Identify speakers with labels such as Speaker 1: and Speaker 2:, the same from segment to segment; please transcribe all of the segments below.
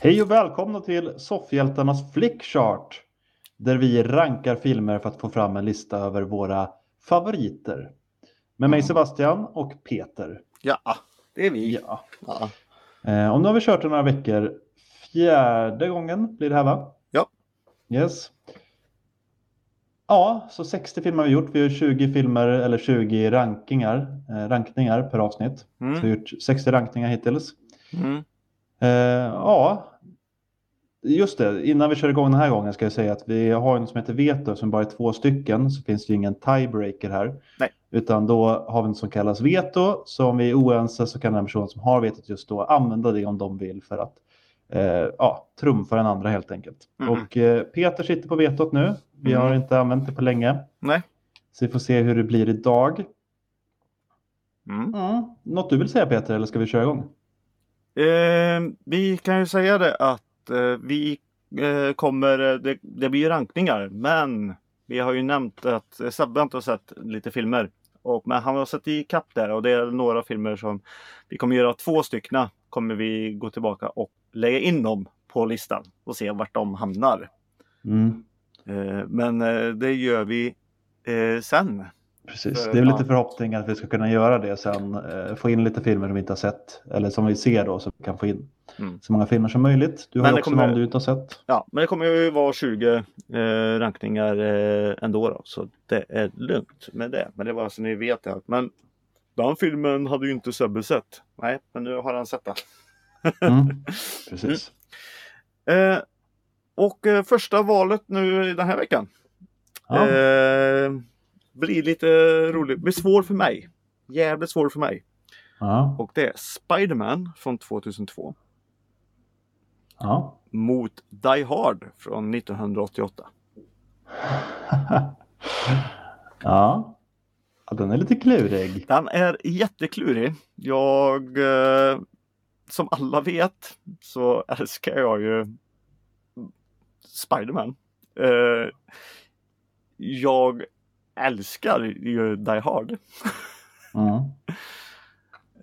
Speaker 1: Hej och välkomna till Soffhjältarnas flickchart där vi rankar filmer för att få fram en lista över våra favoriter. Med mig Sebastian och Peter.
Speaker 2: Ja, det är vi.
Speaker 1: Ja.
Speaker 2: Ja.
Speaker 1: Eh, och nu har vi kört det några veckor. Fjärde gången blir det här va?
Speaker 2: Ja.
Speaker 1: Yes. Ja, så 60 filmer har vi gjort. Vi har 20 filmer eller 20 rankingar, eh, rankningar per avsnitt. Så vi
Speaker 2: Mm.
Speaker 1: har gjort 60 rankningar hittills.
Speaker 2: Mm.
Speaker 1: Eh, ja, just det. Innan vi kör igång den här gången ska jag säga att vi har en som heter veto som bara är två stycken. Så finns det ju ingen tiebreaker här.
Speaker 2: Nej.
Speaker 1: Utan då har vi något som kallas veto. Så om vi är oense så kan den person som har vetot just då använda det om de vill för att eh, ja, trumfa den andra helt enkelt.
Speaker 2: Mhm.
Speaker 1: Och eh, Peter sitter på vetot nu. Vi har
Speaker 2: Mhm.
Speaker 1: inte använt det på länge.
Speaker 2: Nej.
Speaker 1: Så vi får se hur det blir idag.
Speaker 2: Mm.
Speaker 1: Mm. Något du vill säga Peter eller ska vi köra igång?
Speaker 2: Eh, vi kan ju säga det att eh, vi eh, kommer, eh, det, det blir ju rankningar men vi har ju nämnt att eh, Sebbe har inte har sett lite filmer. Och, men han har sett i kapp där och det är några filmer som vi kommer göra två styckna. Kommer vi gå tillbaka och lägga in dem på listan och se vart de hamnar.
Speaker 1: Mm.
Speaker 2: Eh, men eh, det gör vi eh, sen.
Speaker 1: Precis,
Speaker 2: För
Speaker 1: det är väl
Speaker 2: fan.
Speaker 1: lite förhoppning att vi ska kunna göra det sen. Eh, få in lite filmer som vi inte har sett. Eller som vi ser då, så vi kan få in
Speaker 2: Mm.
Speaker 1: så många filmer som möjligt. Du har
Speaker 2: Men
Speaker 1: ju
Speaker 2: det
Speaker 1: också
Speaker 2: kommer-
Speaker 1: någon du inte har sett.
Speaker 2: Ja, men det kommer ju vara 20 eh, rankningar eh, ändå då, så det är lugnt med det. Men det var så ni vet det. Men den filmen hade ju inte Sebbe sett. Nej, men nu har han sett den.
Speaker 1: Mm. Precis.
Speaker 2: Eh, och eh, första valet nu i den här veckan
Speaker 1: Ja.
Speaker 2: Mm. eh, blir lite roligt, blir svår för mig. Jävligt svår för mig.
Speaker 1: Ja.
Speaker 2: Och det är Spiderman från 2002
Speaker 1: Ja.
Speaker 2: mot Die Hard från 1988.
Speaker 1: ja. Ja, den är lite klurig.
Speaker 2: Den är jätteklurig. Jag, eh, som alla vet, så älskar jag ju Spiderman. Eh, jag älskar ju Die Hard.
Speaker 1: Mm.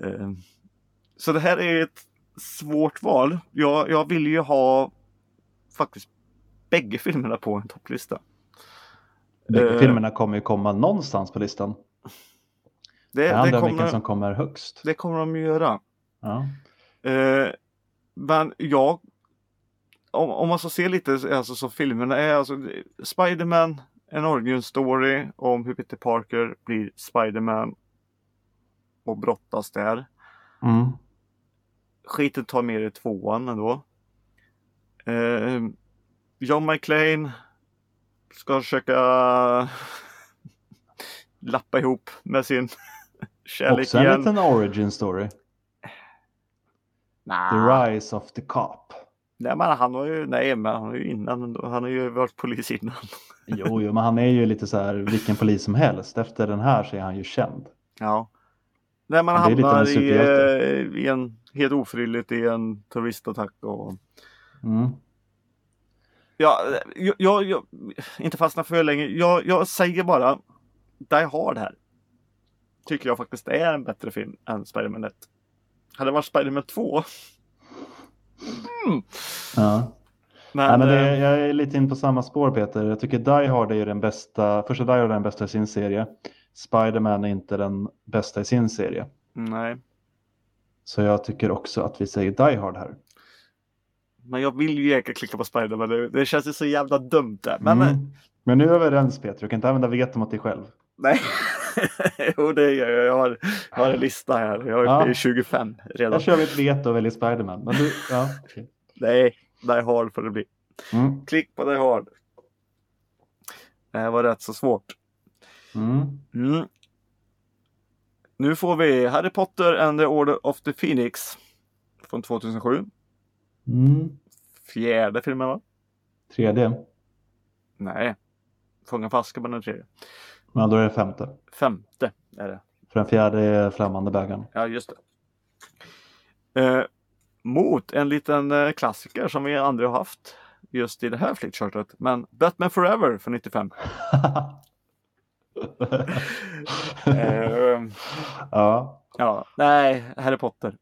Speaker 2: Eh, så det här är ett svårt val. Jag, jag vill ju ha faktiskt bägge filmerna på en topplista.
Speaker 1: Bägge
Speaker 2: Eh.
Speaker 1: filmerna kommer ju komma någonstans på listan.
Speaker 2: Det,
Speaker 1: Det
Speaker 2: det,
Speaker 1: handlar om vilken
Speaker 2: kommer,
Speaker 1: som kommer högst.
Speaker 2: det kommer de ju göra.
Speaker 1: Ja.
Speaker 2: Eh, men jag... Om, om man ska se lite alltså, som filmerna är. Alltså, Spiderman, en origin story om hur Peter Parker blir Spiderman och brottas där.
Speaker 1: Mm.
Speaker 2: Skiten tar med i tvåan ändå. Eh, John McClane ska försöka lappa ihop med sin kärlek
Speaker 1: Också en
Speaker 2: igen.
Speaker 1: liten origin story.
Speaker 2: Nah.
Speaker 1: The Rise of the Cop.
Speaker 2: Nej men han har ju, nej men han har ju innan, ändå. han har ju varit polis innan.
Speaker 1: Jo, jo, men han är ju lite så här vilken polis som helst. Efter den här så är han ju känd.
Speaker 2: Ja. Nej men han
Speaker 1: Det är lite av en
Speaker 2: hamnar i,
Speaker 1: superhjälte.
Speaker 2: eh, i en, helt ofrivilligt i en terroristattack och
Speaker 1: Mm.
Speaker 2: Ja, jag, jag, jag inte fastna för länge. Jag, jag säger bara Die Hard här. Tycker jag faktiskt är en bättre film än Spiderman 1. Hade det varit Spiderman 2. Mm.
Speaker 1: Ja.
Speaker 2: Men,
Speaker 1: Nej, men
Speaker 2: eh,
Speaker 1: det, jag är lite in på samma spår Peter. Jag tycker Die Hard är ju den bästa, första Die Hard är den bästa i sin serie. Spider-Man är inte den bästa i sin serie.
Speaker 2: nej.
Speaker 1: Så jag tycker också att vi säger Die Hard här.
Speaker 2: Men jag vill ju egentligen klicka på Spiderman. Det, det känns ju så jävla dumt där. Men eh,
Speaker 1: Mm. Men nu är vi överens Peter, du kan inte använda veto mot dig själv.
Speaker 2: Nej. jo det gör jag. Jag har, jag har en lista här. Jag är
Speaker 1: Ja.
Speaker 2: uppe i 25
Speaker 1: Där
Speaker 2: redan.
Speaker 1: kör vi ett veto och väljer Spider-Man. Men du, ja, okej.
Speaker 2: Nej, Die Hard får det bli.
Speaker 1: mm.
Speaker 2: Klick på Die Hard. Det här var rätt så svårt.
Speaker 1: Mm.
Speaker 2: Mm. Nu får vi Harry Potter and the Order of the Phoenix. Från 2007.
Speaker 1: Mm.
Speaker 2: Fjärde filmen va?
Speaker 1: Tredje,
Speaker 2: Nej. Fånga på Azkaban är tredje.
Speaker 1: men då är det femte.
Speaker 2: Femte är det.
Speaker 1: För den fjärde är Flammande bägaren.
Speaker 2: Ja, just det. Eh, mot en liten eh, klassiker som vi aldrig har haft just i det här flickchartet. Men Batman Forever från 95. Eh,
Speaker 1: ja.
Speaker 2: ja, nej, Harry Potter.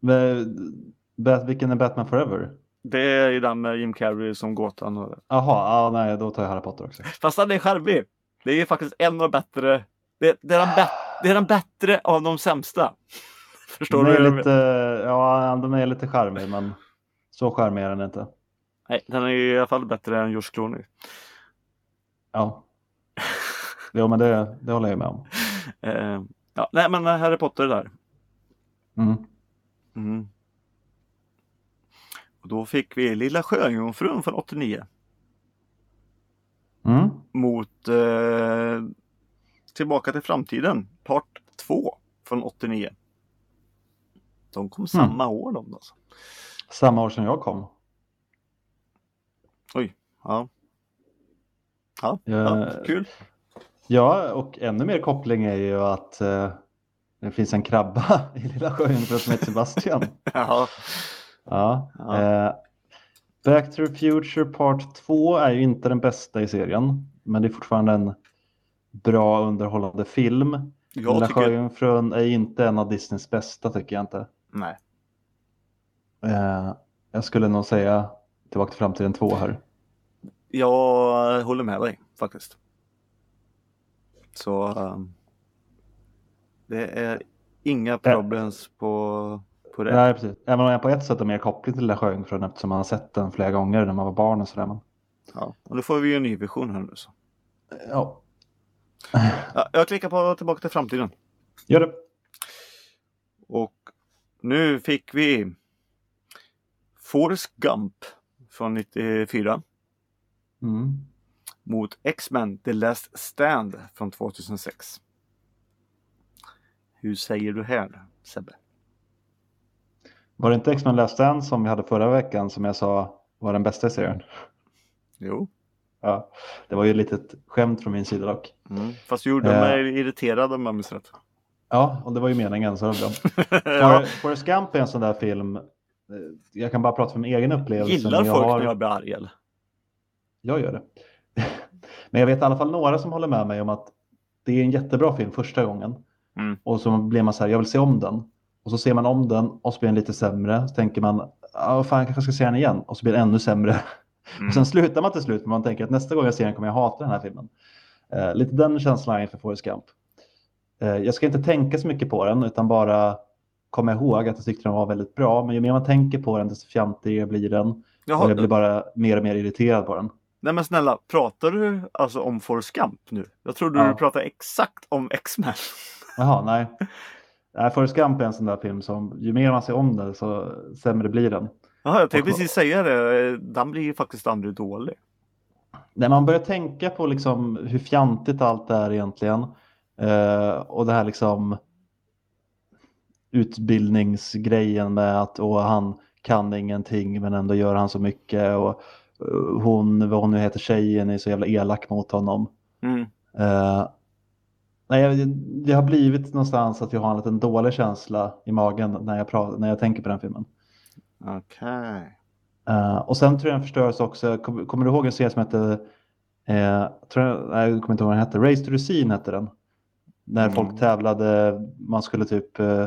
Speaker 1: Men Bat, vilken är Batman Forever?
Speaker 2: Det är ju den med Jim Carrey som gåtan. och-
Speaker 1: Jaha, ah, nej då tar jag Harry Potter också.
Speaker 2: Fast den är charmig. Det är faktiskt en av de bättre. Det, det, är den bä- det är den bättre av de sämsta. Förstår
Speaker 1: den
Speaker 2: du? hur
Speaker 1: är
Speaker 2: jag
Speaker 1: lite, ja, den är lite charmig men så charmig är den inte.
Speaker 2: Nej, den är i alla fall bättre än George Clooney.
Speaker 1: Ja. Jo men det, det håller jag med om.
Speaker 2: Eh, ja, nej, men Harry Potter där.
Speaker 1: Mm.
Speaker 2: Mm. Och då fick vi Lilla Sjöjungfrun från 89
Speaker 1: Mm.
Speaker 2: mot eh, Tillbaka till framtiden, part 2 från 89. De
Speaker 1: Mm.
Speaker 2: kom samma år de alltså.
Speaker 1: Samma år som jag kom.
Speaker 2: Ja. Ja, ja,
Speaker 1: Eh,
Speaker 2: kul.
Speaker 1: Ja, och ännu mer koppling är ju att eh, det finns en krabba i Lilla Sjöjungfrun som heter Sebastian.
Speaker 2: Ja.
Speaker 1: Ja.
Speaker 2: Ja.
Speaker 1: Eh, Back to the Future Part 2 är ju inte den bästa i serien, men det är fortfarande en bra underhållande film. Lilla
Speaker 2: Jag tycker...
Speaker 1: Sjöjungfrun är inte en av Disneys bästa tycker jag inte.
Speaker 2: Nej.
Speaker 1: Eh, jag skulle nog säga Tillbaka till framtiden 2 här.
Speaker 2: Jag håller med dig faktiskt. Så ehm, det är inga problems på, på det.
Speaker 1: Nej, precis. Även om jag på ett sätt är mer kopplad till Lilla Sjöjungfrun eftersom man har sett den flera gånger när man var barn och sådär. Men,
Speaker 2: Ja. Och nu får vi ju en ny vision här nu. Så.
Speaker 1: ja,
Speaker 2: Ja, jag klickar på Tillbaka till framtiden.
Speaker 1: gör det.
Speaker 2: Och nu fick vi Forrest Gump från 94
Speaker 1: Mm.
Speaker 2: mot X-Men The Last Stand från 2006. Hur säger du här Sebbe?
Speaker 1: Var det inte X-Men Last Stand som vi hade förra veckan som jag sa var den bästa i serien?
Speaker 2: Jo.
Speaker 1: Ja, det var ju ett litet skämt från min sida dock.
Speaker 2: Mm. Fast du gjorde
Speaker 1: Eh.
Speaker 2: mig irriterad om jag minns rätt.
Speaker 1: Ja, och det var ju meningen. Så det var bra. For-
Speaker 2: jag
Speaker 1: Forrest Gump är en sån där film. eh, Jag kan bara prata från min egen upplevelse.
Speaker 2: gillar
Speaker 1: men
Speaker 2: folk
Speaker 1: har-
Speaker 2: när jag blir arg. eller?
Speaker 1: Jag gör det. Men jag vet i alla fall några som håller med mig om att det är en jättebra film första gången.
Speaker 2: Mm.
Speaker 1: Och så blir man så här, jag vill se om den. Och så ser man om den och så blir den lite sämre. Så tänker man, ah, vad fan jag kanske ska se den igen. Och så blir den ännu sämre.
Speaker 2: Mm.
Speaker 1: Och sen slutar man till slut men man tänker att nästa gång jag ser den kommer jag hata den här filmen. Eh, lite den känslan har jag inför Forrest Gump. Eh, jag ska inte tänka så mycket på den utan bara komma ihåg att jag tyckte den var väldigt bra. Men ju mer man tänker på den desto fjantigare blir den.
Speaker 2: Jaha,
Speaker 1: Och jag blir bara mer och mer irriterad på den.
Speaker 2: Nej men snälla, pratar du alltså om Forrest Gump nu? Jag trodde
Speaker 1: Ja.
Speaker 2: du pratade exakt om X-Men.
Speaker 1: Jaha, nej. nej Forrest Gump är en sån där film som ju mer man ser om den så sämre blir den.
Speaker 2: Jaha, jag tänkte
Speaker 1: Och-
Speaker 2: precis säga det. Den blir ju faktiskt aldrig dålig.
Speaker 1: När man börjar tänka på liksom hur fjantigt allt är egentligen eh, och det här liksom utbildningsgrejen med att åh, han kan ingenting men ändå gör han så mycket och eh, hon, vad hon nu heter, tjejen är så jävla elak mot honom.
Speaker 2: Mm.
Speaker 1: Eh, nej, jag- det har blivit någonstans att jag har en liten dålig känsla i magen när jag, pratar, när jag tänker på den filmen.
Speaker 2: Okej.
Speaker 1: Eh, och sen tror jag den förstördes också. Kommer, kommer du ihåg en serie som hette, eh, tror jag, nej, jag kommer inte ihåg vad den hette, Race to the Scene hette den. När
Speaker 2: Mm.
Speaker 1: folk tävlade, man skulle typ, eh,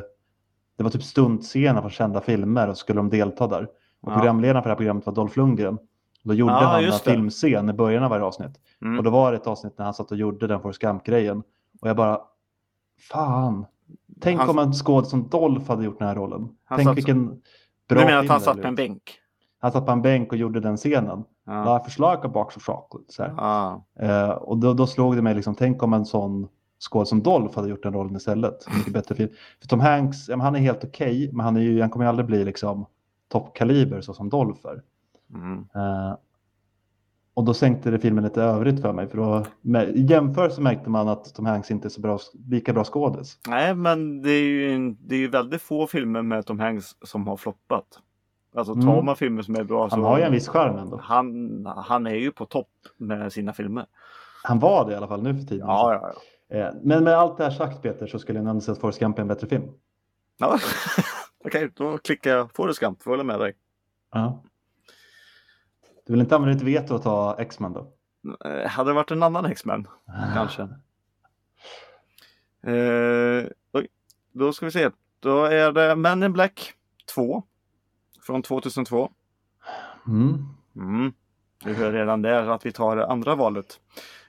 Speaker 1: det var typ stuntscener från kända filmer och skulle de delta där. Och
Speaker 2: Ja.
Speaker 1: programledaren för det här programmet var Dolph Lundgren. Då gjorde
Speaker 2: Ah,
Speaker 1: han en
Speaker 2: just det.
Speaker 1: filmscen i början av varje avsnitt. Och
Speaker 2: Mm.
Speaker 1: då var det ett avsnitt när han satt och gjorde den Forrest Gump-grejen. Och jag bara, fan. Tänk
Speaker 2: Han-
Speaker 1: om en skåd som Dolph hade gjort den här rollen.
Speaker 2: Han
Speaker 1: Tänk
Speaker 2: satt-
Speaker 1: vilken
Speaker 2: Du
Speaker 1: bra
Speaker 2: menar att
Speaker 1: film
Speaker 2: han
Speaker 1: det
Speaker 2: satt
Speaker 1: hade
Speaker 2: på en bänk?
Speaker 1: han satt på en bänk och gjorde den scenen.
Speaker 2: Ja.
Speaker 1: Varför slök jag box of chocolate? Så här.
Speaker 2: Ja.
Speaker 1: Eh, och då, då slog det mig, liksom, tänk om en sån skåd som Dolph hade gjort den rollen istället.
Speaker 2: Mm.
Speaker 1: Mycket bättre film. För Tom Hanks, ja, men han är helt okej, men han, är ju, han kommer ju aldrig bli liksom, toppkaliber så som Dolph är.
Speaker 2: Mm.
Speaker 1: Eh, och då sänkte det filmen lite övrigt för mig. För då, med, I jämförelse märkte man att Tom Hanks inte är så bra, lika bra skådis.
Speaker 2: Nej, men det är, ju, en- det är ju väldigt få filmer med Tom Hanks som har floppat. Alltså tar
Speaker 1: Mm.
Speaker 2: man filmer som är bra
Speaker 1: Han
Speaker 2: så...
Speaker 1: har ju en viss charm ändå.
Speaker 2: han, han är ju på topp med sina filmer.
Speaker 1: Han var det i alla fall nu för tiden.
Speaker 2: Ja, ja, ja.
Speaker 1: Eh, men med allt det här sagt Peter så skulle jag ändå säga att Forrest Gump är en bättre film.
Speaker 2: ja. Okej, då klickar jag på det skamp. Får hålla med dig.
Speaker 1: Ja. Du vill inte använda ditt veto och ta X-Men då?
Speaker 2: Eh, Hade det varit en annan X-Men kanske. Eh, oj, då ska vi se. Då är det Men in Black 2 från 2002.
Speaker 1: Mm.
Speaker 2: Mm. Du hör redan där att vi tar det andra valet.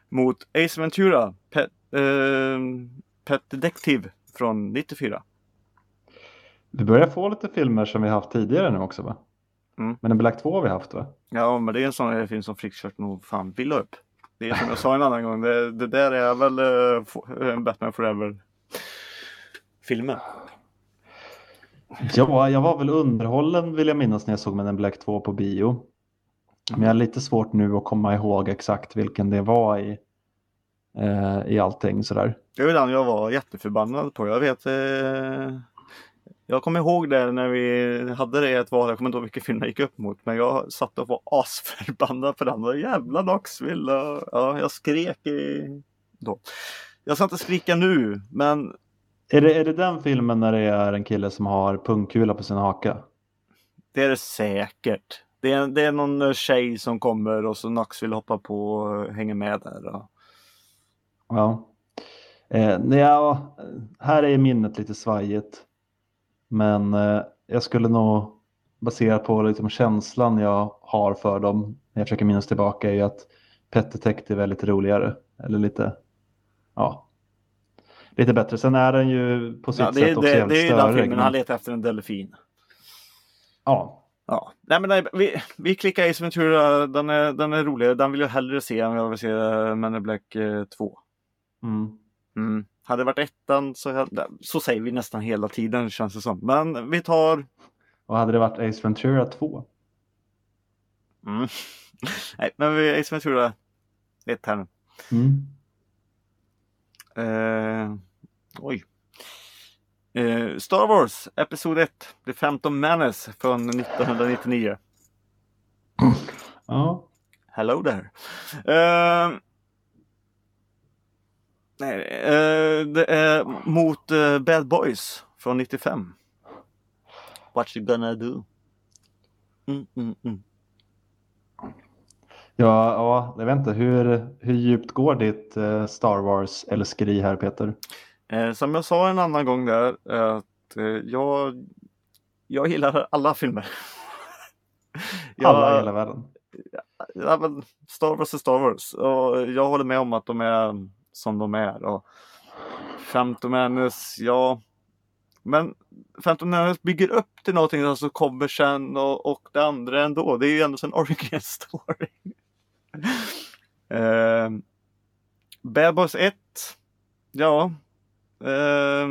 Speaker 2: Mot Ace Ventura, Pet, eh, Pet Detective från 94.
Speaker 1: Vi börjar få lite filmer som vi haft tidigare nu också va?
Speaker 2: Mm.
Speaker 1: Men en Black 2 har vi haft va?
Speaker 2: Ja, men det är en sån här film som Frickskört nog fan vill ha upp. Det är som jag sa en annan gång, det, det där är väl eh, fo- eh, Batman Forever-filmen.
Speaker 1: Ja, jag var väl underhållen vill jag minnas när jag såg Men en Black 2 på bio. Men jag har lite svårt nu att komma ihåg exakt vilken det var i, eh, i allting sådär.
Speaker 2: Det var den jag var jätteförbannad på. Jag vet... Eh, jag kommer ihåg det när vi hade det i ett val. Jag kommer inte ihåg vilken film jag gick upp mot. Men jag satt och var asförbannad på den. där Jävla Knoxville! och- Ja, jag skrek i... då. Jag ska inte skrika nu, men
Speaker 1: Är det, är det den filmen när det är en kille som har pungkula på sin haka?
Speaker 2: det är det säkert. Det är, det är någon eh, tjej som kommer och så Knoxville hoppar på och hänger med där. Och...
Speaker 1: Ja. Eh, nej, ja, här är minnet lite svajigt. Men eh, jag skulle nog basera på liksom känslan jag har för dem när jag försöker minnas tillbaka är ju att Pet Detective är lite roligare. Eller lite, ja, lite bättre. Sen är den ju på sitt
Speaker 2: Ja, det,
Speaker 1: sätt
Speaker 2: är-
Speaker 1: också
Speaker 2: det,
Speaker 1: jävligt
Speaker 2: det är ju den
Speaker 1: störig,
Speaker 2: filmen
Speaker 1: men-
Speaker 2: han letar efter en delfin.
Speaker 1: Ja,
Speaker 2: Ja, nej men nej, vi, vi klickar Ace Ventura, den är, den är roligare, den vill jag hellre se än jag vill se eh, Men in Black eh, 2.
Speaker 1: mm.
Speaker 2: Mm. Hade det varit ettan så, hade- så säger vi nästan hela tiden känns det som. Men vi tar...
Speaker 1: Och hade det varit Ace Ventura 2?
Speaker 2: Mm. nej, men vi, Ace Ventura 1 här nu.
Speaker 1: Mm.
Speaker 2: Eh, oj. Eh, Star Wars Episod 1, The Phantom Menace från 1999.
Speaker 1: Ja,
Speaker 2: Hello there. Eh, nej, eh, det är mot eh, Bad Boys från 95. What you gonna do? Mm, mm, mm.
Speaker 1: ja, ja jag vet inte. Hur, hur djupt går ditt eh, Star Wars-älskeri här Peter?
Speaker 2: Eh, som jag sa en annan gång där, att eh, jag, jag gillar alla filmer.
Speaker 1: Alla i
Speaker 2: Jag-
Speaker 1: hela världen.
Speaker 2: ja, men Star Wars är Star Wars. Och jag håller med om att de är som de är. Och Phantom Menace, ja. Men Phantom Menace bygger upp till någonting som så kommer sen och, och det andra ändå. Det är ju ändå en origin story. Eh, Bad Boys 1. Ja. Eh,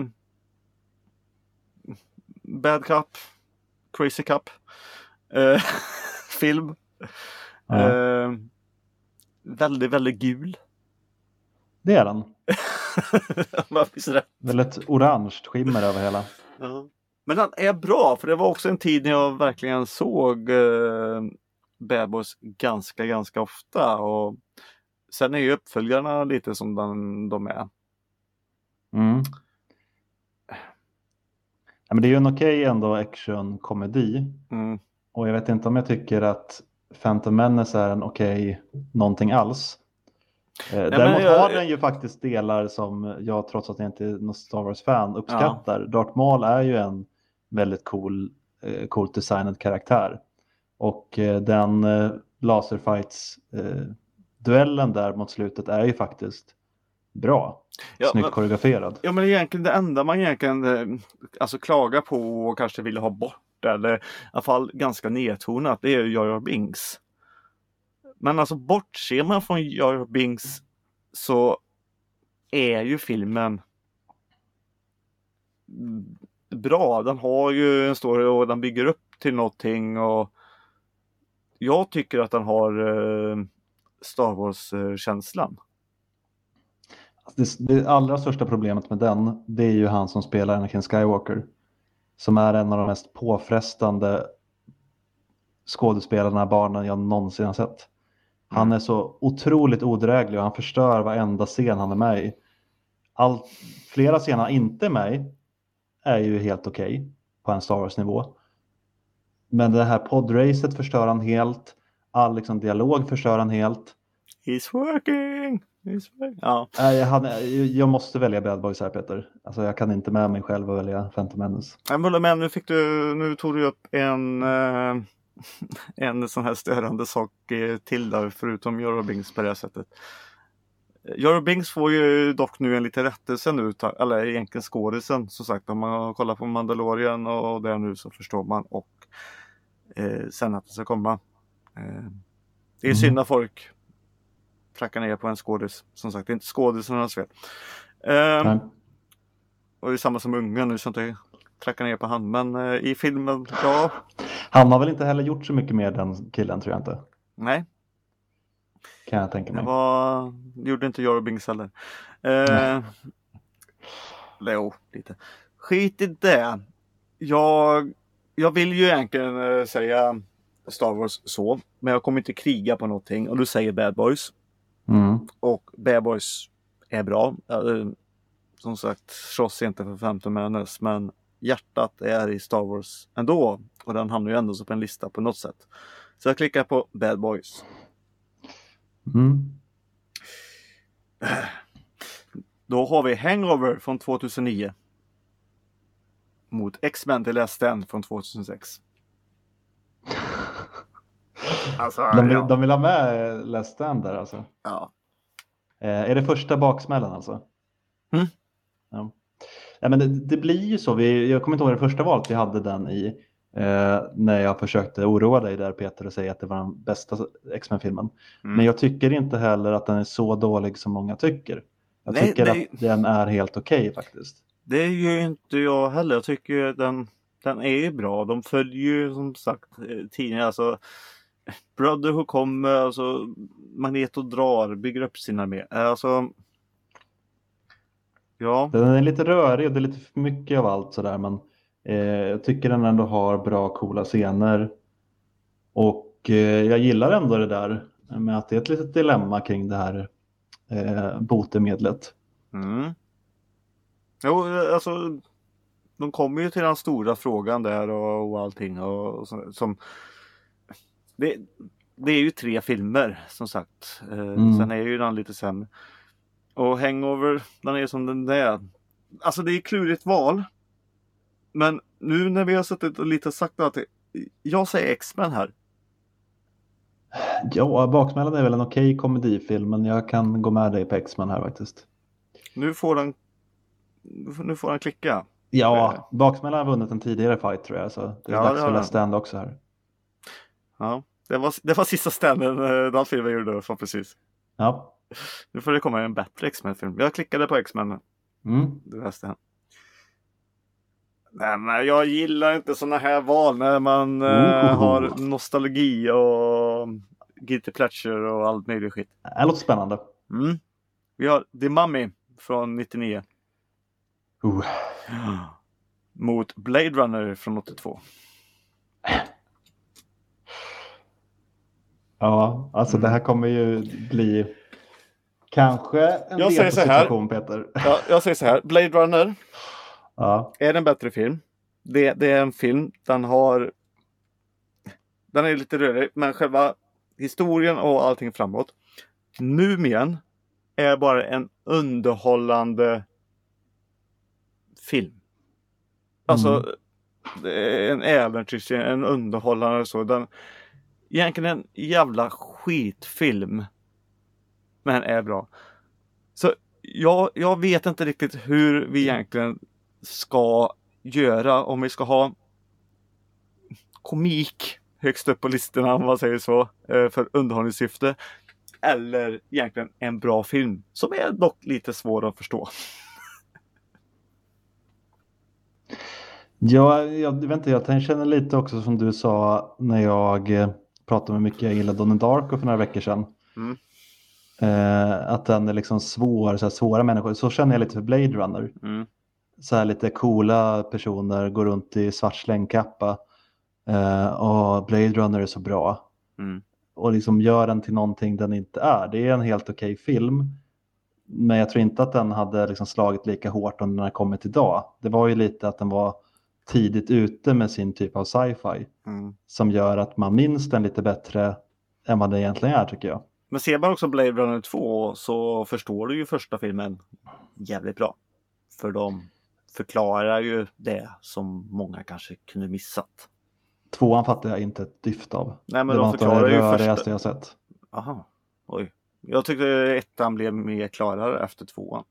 Speaker 2: Bad Cup. Crazy Cup. Eh, film.
Speaker 1: Ja.
Speaker 2: Eh, väldigt, väldigt gul.
Speaker 1: Det är den.
Speaker 2: Varför så där?
Speaker 1: Väldigt orange skimmer över hela.
Speaker 2: Men den är bra, för det var också en tid när jag verkligen såg eh, Bad Boys ganska, ganska ofta. Och sen är ju uppföljarna lite som den, de är.
Speaker 1: Mm. Ja, men det är ju en okej ändå actionkomedi.
Speaker 2: Mm.
Speaker 1: Och jag vet inte om jag tycker att Phantom Menace är en okej någonting alls. Eh,
Speaker 2: men
Speaker 1: Däremot
Speaker 2: jag-
Speaker 1: har den ju faktiskt delar som jag, trots att jag inte är någon Star Wars-fan, uppskattar. Darth Maul är ju en väldigt cool, eh, coolt designad karaktär. Och eh, den eh, laserfights-duellen där mot slutet är ju faktiskt bra.
Speaker 2: Ja,
Speaker 1: Snyggt
Speaker 2: men-
Speaker 1: koreograferad.
Speaker 2: Ja men egentligen det enda man egentligen eh, alltså, klagar på och kanske vill ha bort eller i alla fall ganska nedtonat det är ju Jar Jar Binks. Men alltså bortser man från Jar Jar Binks så är ju filmen bra. Den har ju en story och den bygger upp till någonting och jag tycker att den har eh, Star eh, Wars-känslan.
Speaker 1: Alltså, Det, det allra största problemet med den, det är ju han som spelar Anakin Skywalker. Som är en av de mest påfrestande skådespelarna, barnen jag någonsin har sett. Han är så otroligt odräglig och han förstör varenda scen han är med i. Allt, flera scener han inte är med i är ju helt okej på en Star Wars-nivå. Men det här podracet förstör han helt. All liksom, dialog förstör han helt.
Speaker 2: He's working! Ja.
Speaker 1: Nej, Jag, hade, jag måste välja Bad Boys här Peter. Alltså, jag kan inte med mig själv att välja Phantom Menace.
Speaker 2: Nej, Mulle, Men nu, fick du, nu tog du upp en, eh, en sån här störande sak eh, till där, förutom Eurobings på det här sättet. Eurobings får ju dock nu en liten rättelse nu, ta- eller egentligen skådisen som sagt. Om man kollar på Mandalorian och det nu så förstår man och eh, sen att det ska komma. Eh, det är
Speaker 1: Mm.
Speaker 2: synd att folk prackar ner på en skådis. Som sagt, det är inte skådisarnas fel. Ehm,
Speaker 1: Nej.
Speaker 2: och det är samma som Ungern, nu ska jag inte tracka ner på han. Men eh, i filmen, ja,
Speaker 1: Han har väl inte heller gjort så mycket mer den killen tror jag inte.
Speaker 2: nej.
Speaker 1: Kan jag tänka
Speaker 2: Det
Speaker 1: mig.
Speaker 2: var, det gjorde inte Jorobings heller. Eh, eller jo, lite. Skit i det. Jag, jag vill ju egentligen eh, säga Star Wars så, men jag kommer inte kriga på någonting. Och du säger Bad Boys.
Speaker 1: Mm.
Speaker 2: Och Bad Boys är bra. Eh, Som sagt, slåss inte för 15 Menace, men hjärtat är i Star Wars ändå. Och den hamnar ju ändå så på en lista på något sätt. Så jag klickar på Bad Boys.
Speaker 1: Mm.
Speaker 2: Då har vi Hangover från 2009. Mot X-Men The Last Stand från 2006. Alltså,
Speaker 1: De, vill,
Speaker 2: ja.
Speaker 1: de vill ha med eh, Last Stand där alltså.
Speaker 2: ja.
Speaker 1: Eh, är det första baksmällen alltså?
Speaker 2: Mm.
Speaker 1: Ja. Nej, men det, det blir ju så. Vi, jag kommer inte ihåg det första valet vi hade den i. Eh, när jag försökte oroa dig där Peter och säga att det var den bästa X-Men-filmen.
Speaker 2: Mm.
Speaker 1: Men jag tycker inte heller att den är så dålig som många tycker. Jag
Speaker 2: Nej,
Speaker 1: tycker
Speaker 2: nej.
Speaker 1: att den är helt okej faktiskt.
Speaker 2: Det är ju inte jag heller. Jag tycker ju den, den är ju bra. De följer ju som sagt eh, tidningar. Alltså, Brotherhood kommer, alltså, Magneto drar, bygger upp sin armé. Eh, Alltså, ja,
Speaker 1: Den är lite rörig och det är lite för mycket av allt sådär men eh, jag tycker den ändå har bra coola scener. Och eh, jag gillar ändå det där med att det är ett litet dilemma kring det här eh, botemedlet.
Speaker 2: Mm. Jo, alltså. De kommer ju till den stora frågan där och, och allting och, och så, som. Det, det är ju tre filmer som sagt. Eh,
Speaker 1: Mm.
Speaker 2: Sen är ju den lite sämre. Och Hangover, den är som den där. Alltså det är klurigt val. Men nu när vi har suttit och lite sagt att det- jag säger X-Men här.
Speaker 1: Ja, Baksmällan är väl en okej komedifilm men jag kan gå med dig på X-Men här faktiskt.
Speaker 2: Nu får den. Nu får den klicka.
Speaker 1: Ja, Baksmällan har vunnit en tidigare fight tror jag så det är
Speaker 2: Ja, det
Speaker 1: dags
Speaker 2: har
Speaker 1: för
Speaker 2: den.
Speaker 1: Last Stand också här.
Speaker 2: Ja, det var, det var sista ställen eh, den filmen gjorde för precis.
Speaker 1: Ja,
Speaker 2: Nu får det komma en bättre X-Men-film. Jag klickade på X-Men.
Speaker 1: mm.
Speaker 2: Du läste den. Nej, men jag gillar inte sådana här val när man eh,
Speaker 1: Ooh.
Speaker 2: har nostalgi och guilty pleasure och allt möjligt skit.
Speaker 1: det låter spännande.
Speaker 2: Mm. Vi har The Mummy från 99
Speaker 1: Uh.
Speaker 2: mot Blade Runner från 82.
Speaker 1: Ja, alltså
Speaker 2: Mm.
Speaker 1: det här kommer ju bli kanske en
Speaker 2: Jag säger så här.
Speaker 1: situation Peter.
Speaker 2: Ja, jag säger så här, Blade Runner
Speaker 1: Ja,
Speaker 2: är det en bättre film. Det, det är en film, den har... Den är lite rörig, men själva historien och allting framåt. Mumien är bara en underhållande film. Alltså, det är en äventyrsserie, en underhållande så. Den, egentligen en jävla skitfilm. Men är bra. Så jag, jag vet inte riktigt hur vi egentligen ska göra om vi ska ha komik högst upp på listorna om man säger så eh, för underhållningssyfte. Eller egentligen en bra film som är dock lite svår att förstå.
Speaker 1: ja jag, vet inte, jag tänker- känner lite också som du sa när jag eh, pratade om hur mycket jag gillade Donnie Darko för några veckor sedan.
Speaker 2: Mm.
Speaker 1: Eh, att den är liksom svår, så här svåra människor. Så känner jag lite för Blade Runner.
Speaker 2: Mm,
Speaker 1: Så här lite coola personer går runt i svart slängkappa. Eh, och Blade Runner är så bra.
Speaker 2: Mm.
Speaker 1: och liksom gör den till någonting den inte är. Det är en helt okej film. Men jag tror inte att den hade liksom slagit lika hårt om den hade kommit idag. Det var ju lite att den var tidigt ute med sin typ av
Speaker 2: Mm.
Speaker 1: sci-fi. Som gör att man minns den lite bättre än vad den egentligen är tycker jag.
Speaker 2: Men ser man också Blade Runner 2 så förstår du ju första filmen jävligt bra. För de förklarar ju det som många kanske kunde missat.
Speaker 1: Tvåan fattar jag inte ett dyft av.
Speaker 2: Nej, men
Speaker 1: det
Speaker 2: de
Speaker 1: var inte
Speaker 2: förklarar
Speaker 1: det
Speaker 2: ju
Speaker 1: rörigaste
Speaker 2: första-
Speaker 1: jag sett.
Speaker 2: Aha, oj. Jag tyckte ettan blev mer klarare efter tvåan.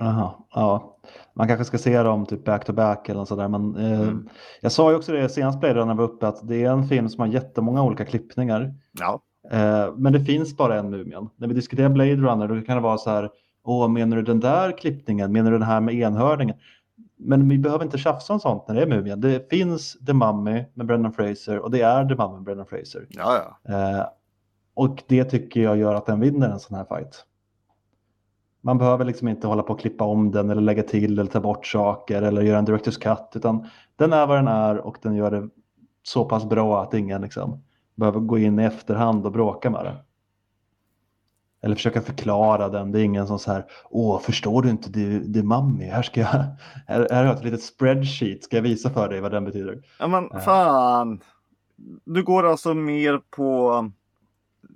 Speaker 1: Aha, ja. Man kanske ska se dem typ back to back eller något sådär. Men, eh,
Speaker 2: Mm.
Speaker 1: Jag sa ju också det senast Blade Runner var uppe att det är en film som har jättemånga olika klippningar.
Speaker 2: Ja,
Speaker 1: Eh, men det finns bara en Mumien. När vi diskuterar Blade Runner då kan det vara så här. Åh, menar du den där klippningen? Menar du den här med enhörningen? Men vi behöver inte tjafsa om sånt när det är Mumien. Det finns The Mummy med Brendan Fraser och det är The Mummy med Brendan Fraser.
Speaker 2: ja, ja.
Speaker 1: Eh, och det tycker jag gör att den vinner en sån här fight. Man behöver liksom inte hålla på och klippa om den eller lägga till eller ta bort saker eller göra en director's cut utan den är vad den är och den gör det så pass bra att ingen liksom behöver gå in i efterhand och bråka med det. Eller försöka förklara den. Det är ingen som så här, åh, förstår du inte det, det är mammi? Här ska jag, här, här har jag ett litet spreadsheet, ska jag visa för dig vad den betyder?
Speaker 2: Ja men
Speaker 1: Ja.
Speaker 2: fan. Du går alltså mer på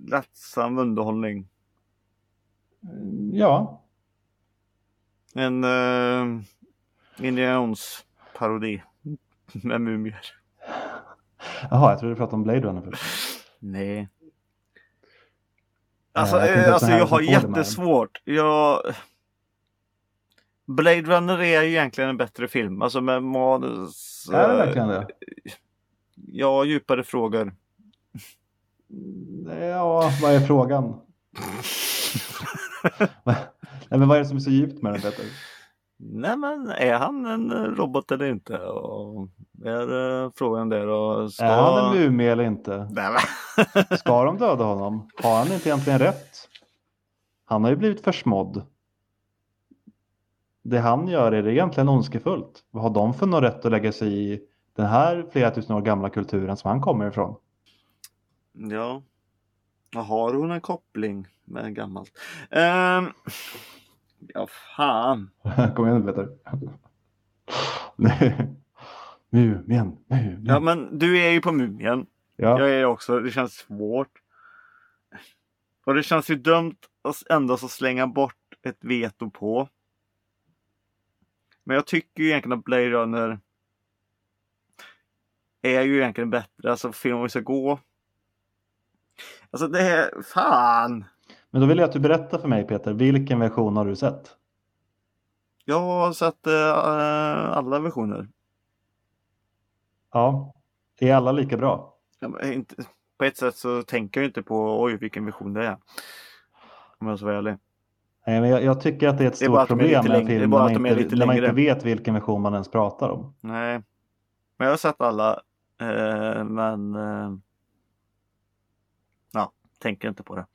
Speaker 2: lättsam underhållning.
Speaker 1: Mm, Ja,
Speaker 2: En uh, Indiana Jones parodi. Med mumier.
Speaker 1: jaha, jag trodde du pratade om Blade Runner. först.
Speaker 2: Nej. Alltså,
Speaker 1: jag tänkte
Speaker 2: eh,
Speaker 1: att
Speaker 2: alltså
Speaker 1: det här
Speaker 2: jag
Speaker 1: som
Speaker 2: har
Speaker 1: får det med.
Speaker 2: jättesvårt. Jag... Blade Runner är ju egentligen en bättre film. Alltså med manus.
Speaker 1: Är det
Speaker 2: eh,
Speaker 1: verkligen det?
Speaker 2: Ja, djupare frågor.
Speaker 1: Mm, Ja, vad är frågan? Nej, men vad är det som är så djupt med den Peter?
Speaker 2: Nej men är han en eh, robot eller inte? Och är eh, frågan där och ska...
Speaker 1: Är han en mumie eller inte?
Speaker 2: Nej, men...
Speaker 1: Ska de döda honom? Har han inte egentligen rätt? Han har ju blivit försmådd. Det han gör är det egentligen ondskefullt. Vad har de för någon rätt att lägga sig i den här flera tusen år gamla kulturen som han kommer ifrån?
Speaker 2: Ja. Ja, Har hon en koppling med gammalt? Ehm... Ja fan.
Speaker 1: Kom igen Peter. Nej. Mumien, mumien.
Speaker 2: Ja men du är ju på mumien.
Speaker 1: Ja.
Speaker 2: Jag är också. Det känns svårt. Och det känns ju dumt att ändå så slänga bort ett veto på. Men jag tycker ju egentligen att Blade Runner är ju egentligen bättre. Alltså filmen vi ska gå. Alltså det är fan.
Speaker 1: Men då vill jag att du berättar för mig Peter, vilken version har du sett?
Speaker 2: Jag har sett eh, alla versioner.
Speaker 1: Ja. Är alla lika bra?
Speaker 2: Ja, men inte, på ett sätt så tänker jag ju inte på oj vilken version det är. Om jag ska vara ärlig.
Speaker 1: Nej, Eh, men jag, jag tycker att det är ett
Speaker 2: Det är bara
Speaker 1: stort
Speaker 2: att de är lite
Speaker 1: problem med en
Speaker 2: längre. Det är
Speaker 1: film
Speaker 2: bara
Speaker 1: när
Speaker 2: att
Speaker 1: man,
Speaker 2: de är
Speaker 1: inte,
Speaker 2: lite
Speaker 1: när man inte
Speaker 2: längre.
Speaker 1: vet vilken version man ens pratar om.
Speaker 2: Nej. Men jag har sett alla. Eh, men... Eh, ja, tänker inte på det.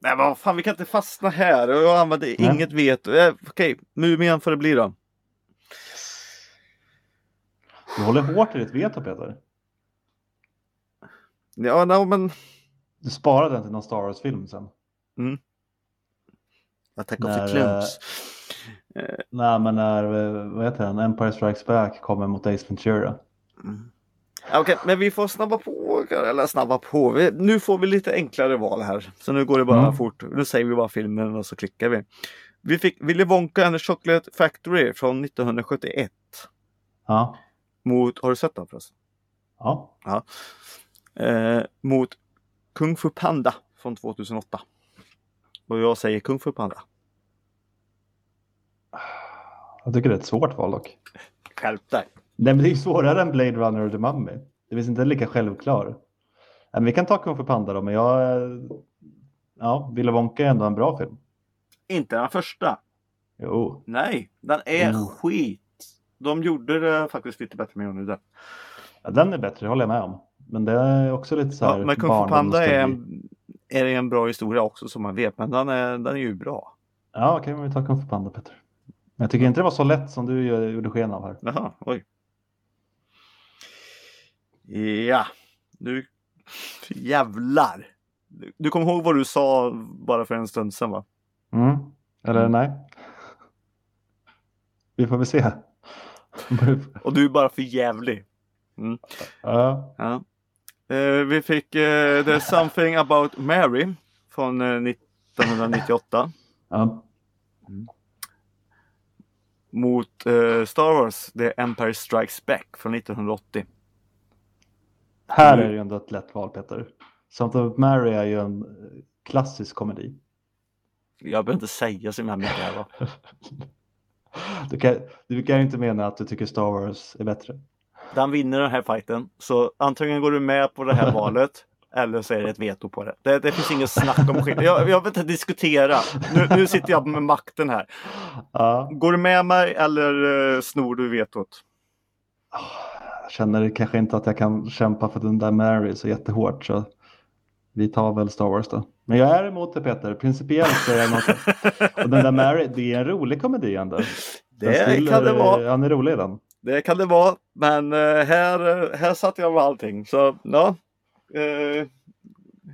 Speaker 2: Nej men vad fan, vi kan inte fastna här. Och Jag använder
Speaker 1: Nej.
Speaker 2: inget veto. Eh, Okej, Mumien får det bli då.
Speaker 1: Du håller hårt i ditt veto Peter.
Speaker 2: Ja, no, men...
Speaker 1: Du sparar den till någon Star Wars-film sen.
Speaker 2: Attack of
Speaker 1: När,
Speaker 2: the
Speaker 1: eh,
Speaker 2: Clones.
Speaker 1: Nej, men när eh, vad heter den? Empire Strikes Back kommer mot Ace Ventura.
Speaker 2: Okej, men vi får snabba på. Eller snabba på. Vi, nu får vi lite enklare val här. Så nu går det bara
Speaker 1: Mm.
Speaker 2: fort. Nu säger vi bara filmen och så klickar vi. Vi fick Willy Wonka and the Chocolate Factory från 1971.
Speaker 1: Ja.
Speaker 2: Mot, har du sett den förresten?
Speaker 1: ja.
Speaker 2: Eh, mot Kung Fu Panda från 2008. Och jag säger Kung Fu Panda.
Speaker 1: Jag tycker det är ett svårt val dock.
Speaker 2: Skärp dig!
Speaker 1: Nej, men det är ju svårare än Blade Runner och The Mummy. Det finns inte lika självklar. Nej, men vi kan ta Kung Fu Panda då, men jag... eh, Ja, Willa Wonka är ändå en bra film.
Speaker 2: Inte den första.
Speaker 1: Jo.
Speaker 2: Nej, den är
Speaker 1: Mm.
Speaker 2: skit. De gjorde det faktiskt lite bättre med Johnny Depp.
Speaker 1: Ja, den är bättre, det håller jag med om. Men det är också lite så
Speaker 2: Ja,
Speaker 1: här
Speaker 2: men Kung Fu Panda är en, är en bra historia också som man vet, men den är, den är ju bra.
Speaker 1: Ja, okej, men vi tar Kung Fu Panda, Peter. Men jag tycker inte det var så lätt som du gör- gjorde sken av här.
Speaker 2: Jaha, oj. Ja, nu jävlar. Du, du kommer ihåg vad du sa bara för en stund sedan va?
Speaker 1: Mm. Eller
Speaker 2: Mm.
Speaker 1: nej? Vi får väl se.
Speaker 2: Och du är bara för jävlig.
Speaker 1: ja,
Speaker 2: Ja. Eh, vi fick eh, The Something About Mary från eh, 1998
Speaker 1: Ja.
Speaker 2: mot eh, Star Wars The Empire Strikes Back från 1980.
Speaker 1: Här är det ju ändå ett lätt val, Peter. Samt of Mary är ju en eh, klassisk komedi.
Speaker 2: Jag behöver inte säga så himla mycket här va?
Speaker 1: Du kan, du kan ju inte mena att du tycker Star Wars är bättre.
Speaker 2: Den vinner den här fighten. Så antingen går du med på det här valet eller så är det ett veto på det. Det, det finns inget snack om skillnad. Jag, jag vill inte diskutera. Nu, nu sitter jag med makten här.
Speaker 1: Ja,
Speaker 2: Går du med mig eller eh, snor du vetot?
Speaker 1: jag känner kanske inte att jag kan kämpa för den där Mary så jättehårt. Så vi tar väl Star Wars då. Men jag är emot det Peter. Principiellt så är jag emot det. Och den där Mary, det är en rolig komedi ändå. Den
Speaker 2: Det
Speaker 1: Stiller,
Speaker 2: kan det vara.
Speaker 1: Han är rolig i den.
Speaker 2: Det kan det vara, men eh, här, eh, här satt jag med allting. Så ja, eh,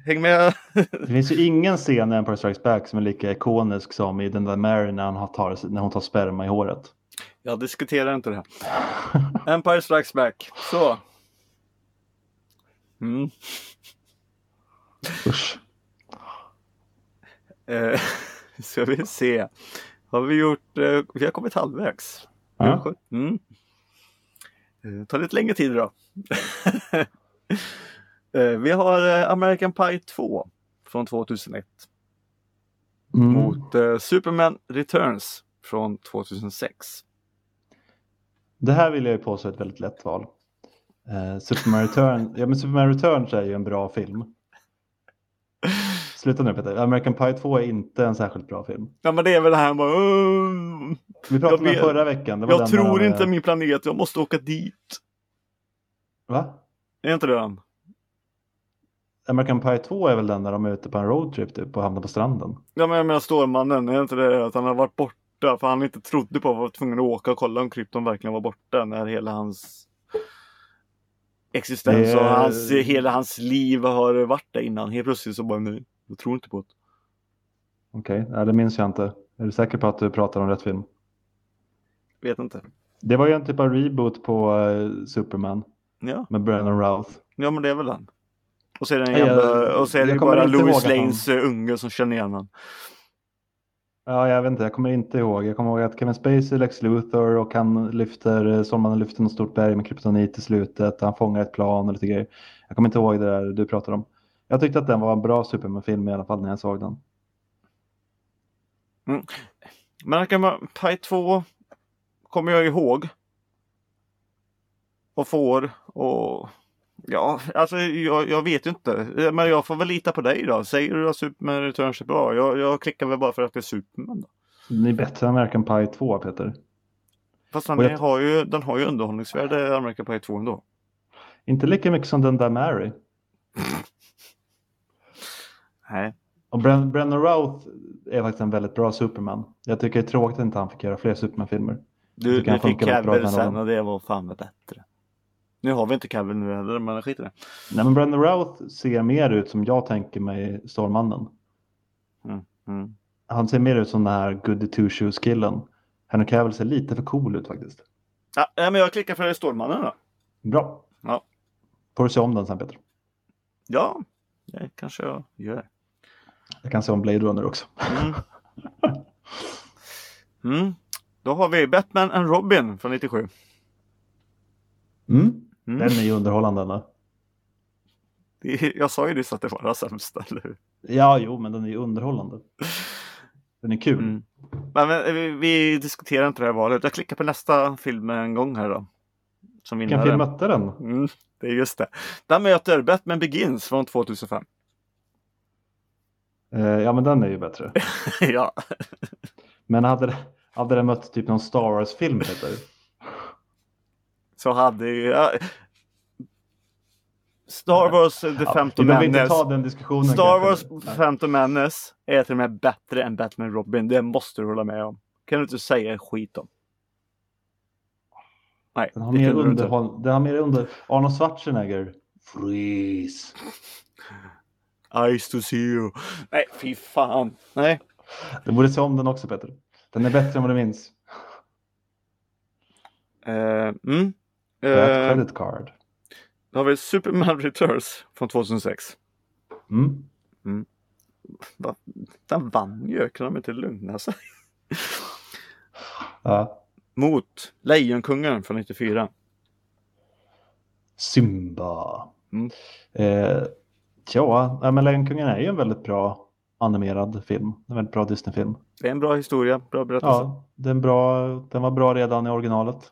Speaker 2: häng med.
Speaker 1: Det finns ju ingen scen i Empire Strikes Back som är lika ikonisk som i den där Mary när, han har tar, när hon tar sperma i håret.
Speaker 2: Jag diskuterar inte det här. Empire Strikes Back. Så. Mm.
Speaker 1: Usch.
Speaker 2: Eh, ska vi se. Har vi gjort? Eh, vi har kommit halvvägs.
Speaker 1: Ja.
Speaker 2: Mm. Eh, tar lite längre tid då. eh, vi har eh, American Pie 2 från 2001
Speaker 1: Mm.
Speaker 2: mot eh, Superman Returns från 2006.
Speaker 1: Det här vill jag ju påstå är ett väldigt lätt val. Eh, Superman, Return, ja, men Superman Returns är ju en bra film. Sluta nu Peter, American Pie 2 är inte en särskilt bra film.
Speaker 2: Ja men det är väl det här bara... "Åh,
Speaker 1: Vi
Speaker 2: Jag
Speaker 1: pratade om den
Speaker 2: vet.
Speaker 1: förra veckan. Det var
Speaker 2: Jag
Speaker 1: den
Speaker 2: tror
Speaker 1: där, eh,
Speaker 2: inte min planet, jag måste åka dit.
Speaker 1: Va?
Speaker 2: Är inte det den?
Speaker 1: American Pie 2 är väl den när de är ute på en roadtrip typ, och hamnar på stranden.
Speaker 2: Ja men jag menar Stålmannen, är inte det att han har varit borta för han inte trodde på att vara tvungen att åka och kolla om krypton verkligen var borta när hela hans existens
Speaker 1: Det-
Speaker 2: och hans, hela hans liv har varit där innan. Helt plötsligt så bara, nej, jag tror inte på det.
Speaker 1: Okej, nej, det minns jag inte. Är du säker på att du pratar om rätt film?
Speaker 2: Vet inte.
Speaker 1: Det var ju en typ av reboot på eh, Superman
Speaker 2: Ja,
Speaker 1: med Brandon Routh.
Speaker 2: ja men det är väl den. Och så är det, en
Speaker 1: Nej, jag-
Speaker 2: jävla, och så är det
Speaker 1: jag
Speaker 2: ju
Speaker 1: kommer
Speaker 2: bara
Speaker 1: inte ihåg
Speaker 2: Louis
Speaker 1: att han-
Speaker 2: Lanes eh, unge som känner igen honom.
Speaker 1: Ja, jag vet inte, jag kommer inte ihåg. Jag kommer ihåg att Kevin Spacey är Lex Luthor och han lyfter, Solmannen lyfter något stort berg med kryptonit i slutet. Han fångar ett plan och lite grejer. Jag kommer inte ihåg det där du pratade om. Jag tyckte att den var en bra Superman-film i alla fall när jag såg den.
Speaker 2: Men det kan vara Pi 2 kommer jag ihåg. Och får och ja, alltså jag, jag vet ju inte. Eh, Men jag får väl lita på dig då. Säger du att Superman Returns är bra? Jag, jag klickar väl bara för att det är Superman. Då.
Speaker 1: Den är bättre än American Pie 2, Peter.
Speaker 2: Fast den,
Speaker 1: Och jag-
Speaker 2: är- har ju, den har ju underhållningsvärde, American Pie 2 ändå.
Speaker 1: Inte lika mycket som den där Mary.
Speaker 2: Nej.
Speaker 1: Och Bren- Brennan Routh är faktiskt en väldigt bra Superman. Jag tycker det är tråkigt att inte han fick göra fler Superman-filmer.
Speaker 2: Du,
Speaker 1: tycker han
Speaker 2: du fick
Speaker 1: funkar väldigt bra
Speaker 2: Cavill
Speaker 1: med
Speaker 2: sen
Speaker 1: rollen.
Speaker 2: och det var fan vad bättre. Nu har vi inte Cavill nu heller, men skit i det.
Speaker 1: Nej, men Brendan Routh ser mer ut som jag tänker mig Stålmannen.
Speaker 2: Mm, mm.
Speaker 1: Han ser mer ut som den här goody two shoes killen. Henry Cavill ser lite för cool ut faktiskt.
Speaker 2: Ja, nej, men jag klickar för Stålmannen då.
Speaker 1: Bra.
Speaker 2: Ja.
Speaker 1: Får du se om den sen Peter.
Speaker 2: Ja, det kanske jag gör.
Speaker 1: Jag kan se om Blade Runner också.
Speaker 2: Mm. Mm. Då har vi Batman and Robin från 97.
Speaker 1: Mm.
Speaker 2: Mm.
Speaker 1: Den är ju underhållande. ändå.
Speaker 2: Det- Jag sa ju nyss att det var den sämsta, eller hur?
Speaker 1: Ja, jo, men den är ju underhållande. Den är kul.
Speaker 2: Mm. Men, men vi, vi diskuterar inte det här valet. Jag klickar på nästa film en gång här då. Som
Speaker 1: Vilken film
Speaker 2: vinnare.
Speaker 1: mötte den?
Speaker 2: Mm, det är just det. Den möter Batman Begins från 2005.
Speaker 1: Eh, ja, men den är ju bättre.
Speaker 2: ja,
Speaker 1: Men hade, det- hade den mött typ någon Star Wars-film Peter?
Speaker 2: så hade ju... Ja. Star Wars eh, The
Speaker 1: Ja,
Speaker 2: Phantom
Speaker 1: vi behöver inte
Speaker 2: Menace.
Speaker 1: ta den diskussionen.
Speaker 2: Star
Speaker 1: kanske.
Speaker 2: Wars
Speaker 1: Nej.
Speaker 2: Phantom Menace är till och med bättre än Batman Robin. Det måste du hålla med om. Kan du inte säga skit om. Nej,
Speaker 1: Den har
Speaker 2: det
Speaker 1: mer
Speaker 2: kunde du inte.
Speaker 1: underhåll. Den har mer under... Arnold Schwarzenegger. Freeze.
Speaker 2: Ice to see you. Nej, fy fan. Nej,
Speaker 1: Du borde se om den också Peter. Den är bättre än vad du minns.
Speaker 2: eh, mm.
Speaker 1: That
Speaker 2: Eh,
Speaker 1: credit card.
Speaker 2: Då har vi Superman Returns från 2006.
Speaker 1: Mm.
Speaker 2: Va? Den vann ju, kan de inte lugna sig?
Speaker 1: Ja.
Speaker 2: Mot Lejonkungen från 94.
Speaker 1: Simba.
Speaker 2: Mm.
Speaker 1: Eh, tja, ja, men Lejonkungen är ju en väldigt bra animerad film. En väldigt bra Disney-film.
Speaker 2: Det är en bra historia, bra berättelse.
Speaker 1: Ja, den, bra, den var bra redan i originalet.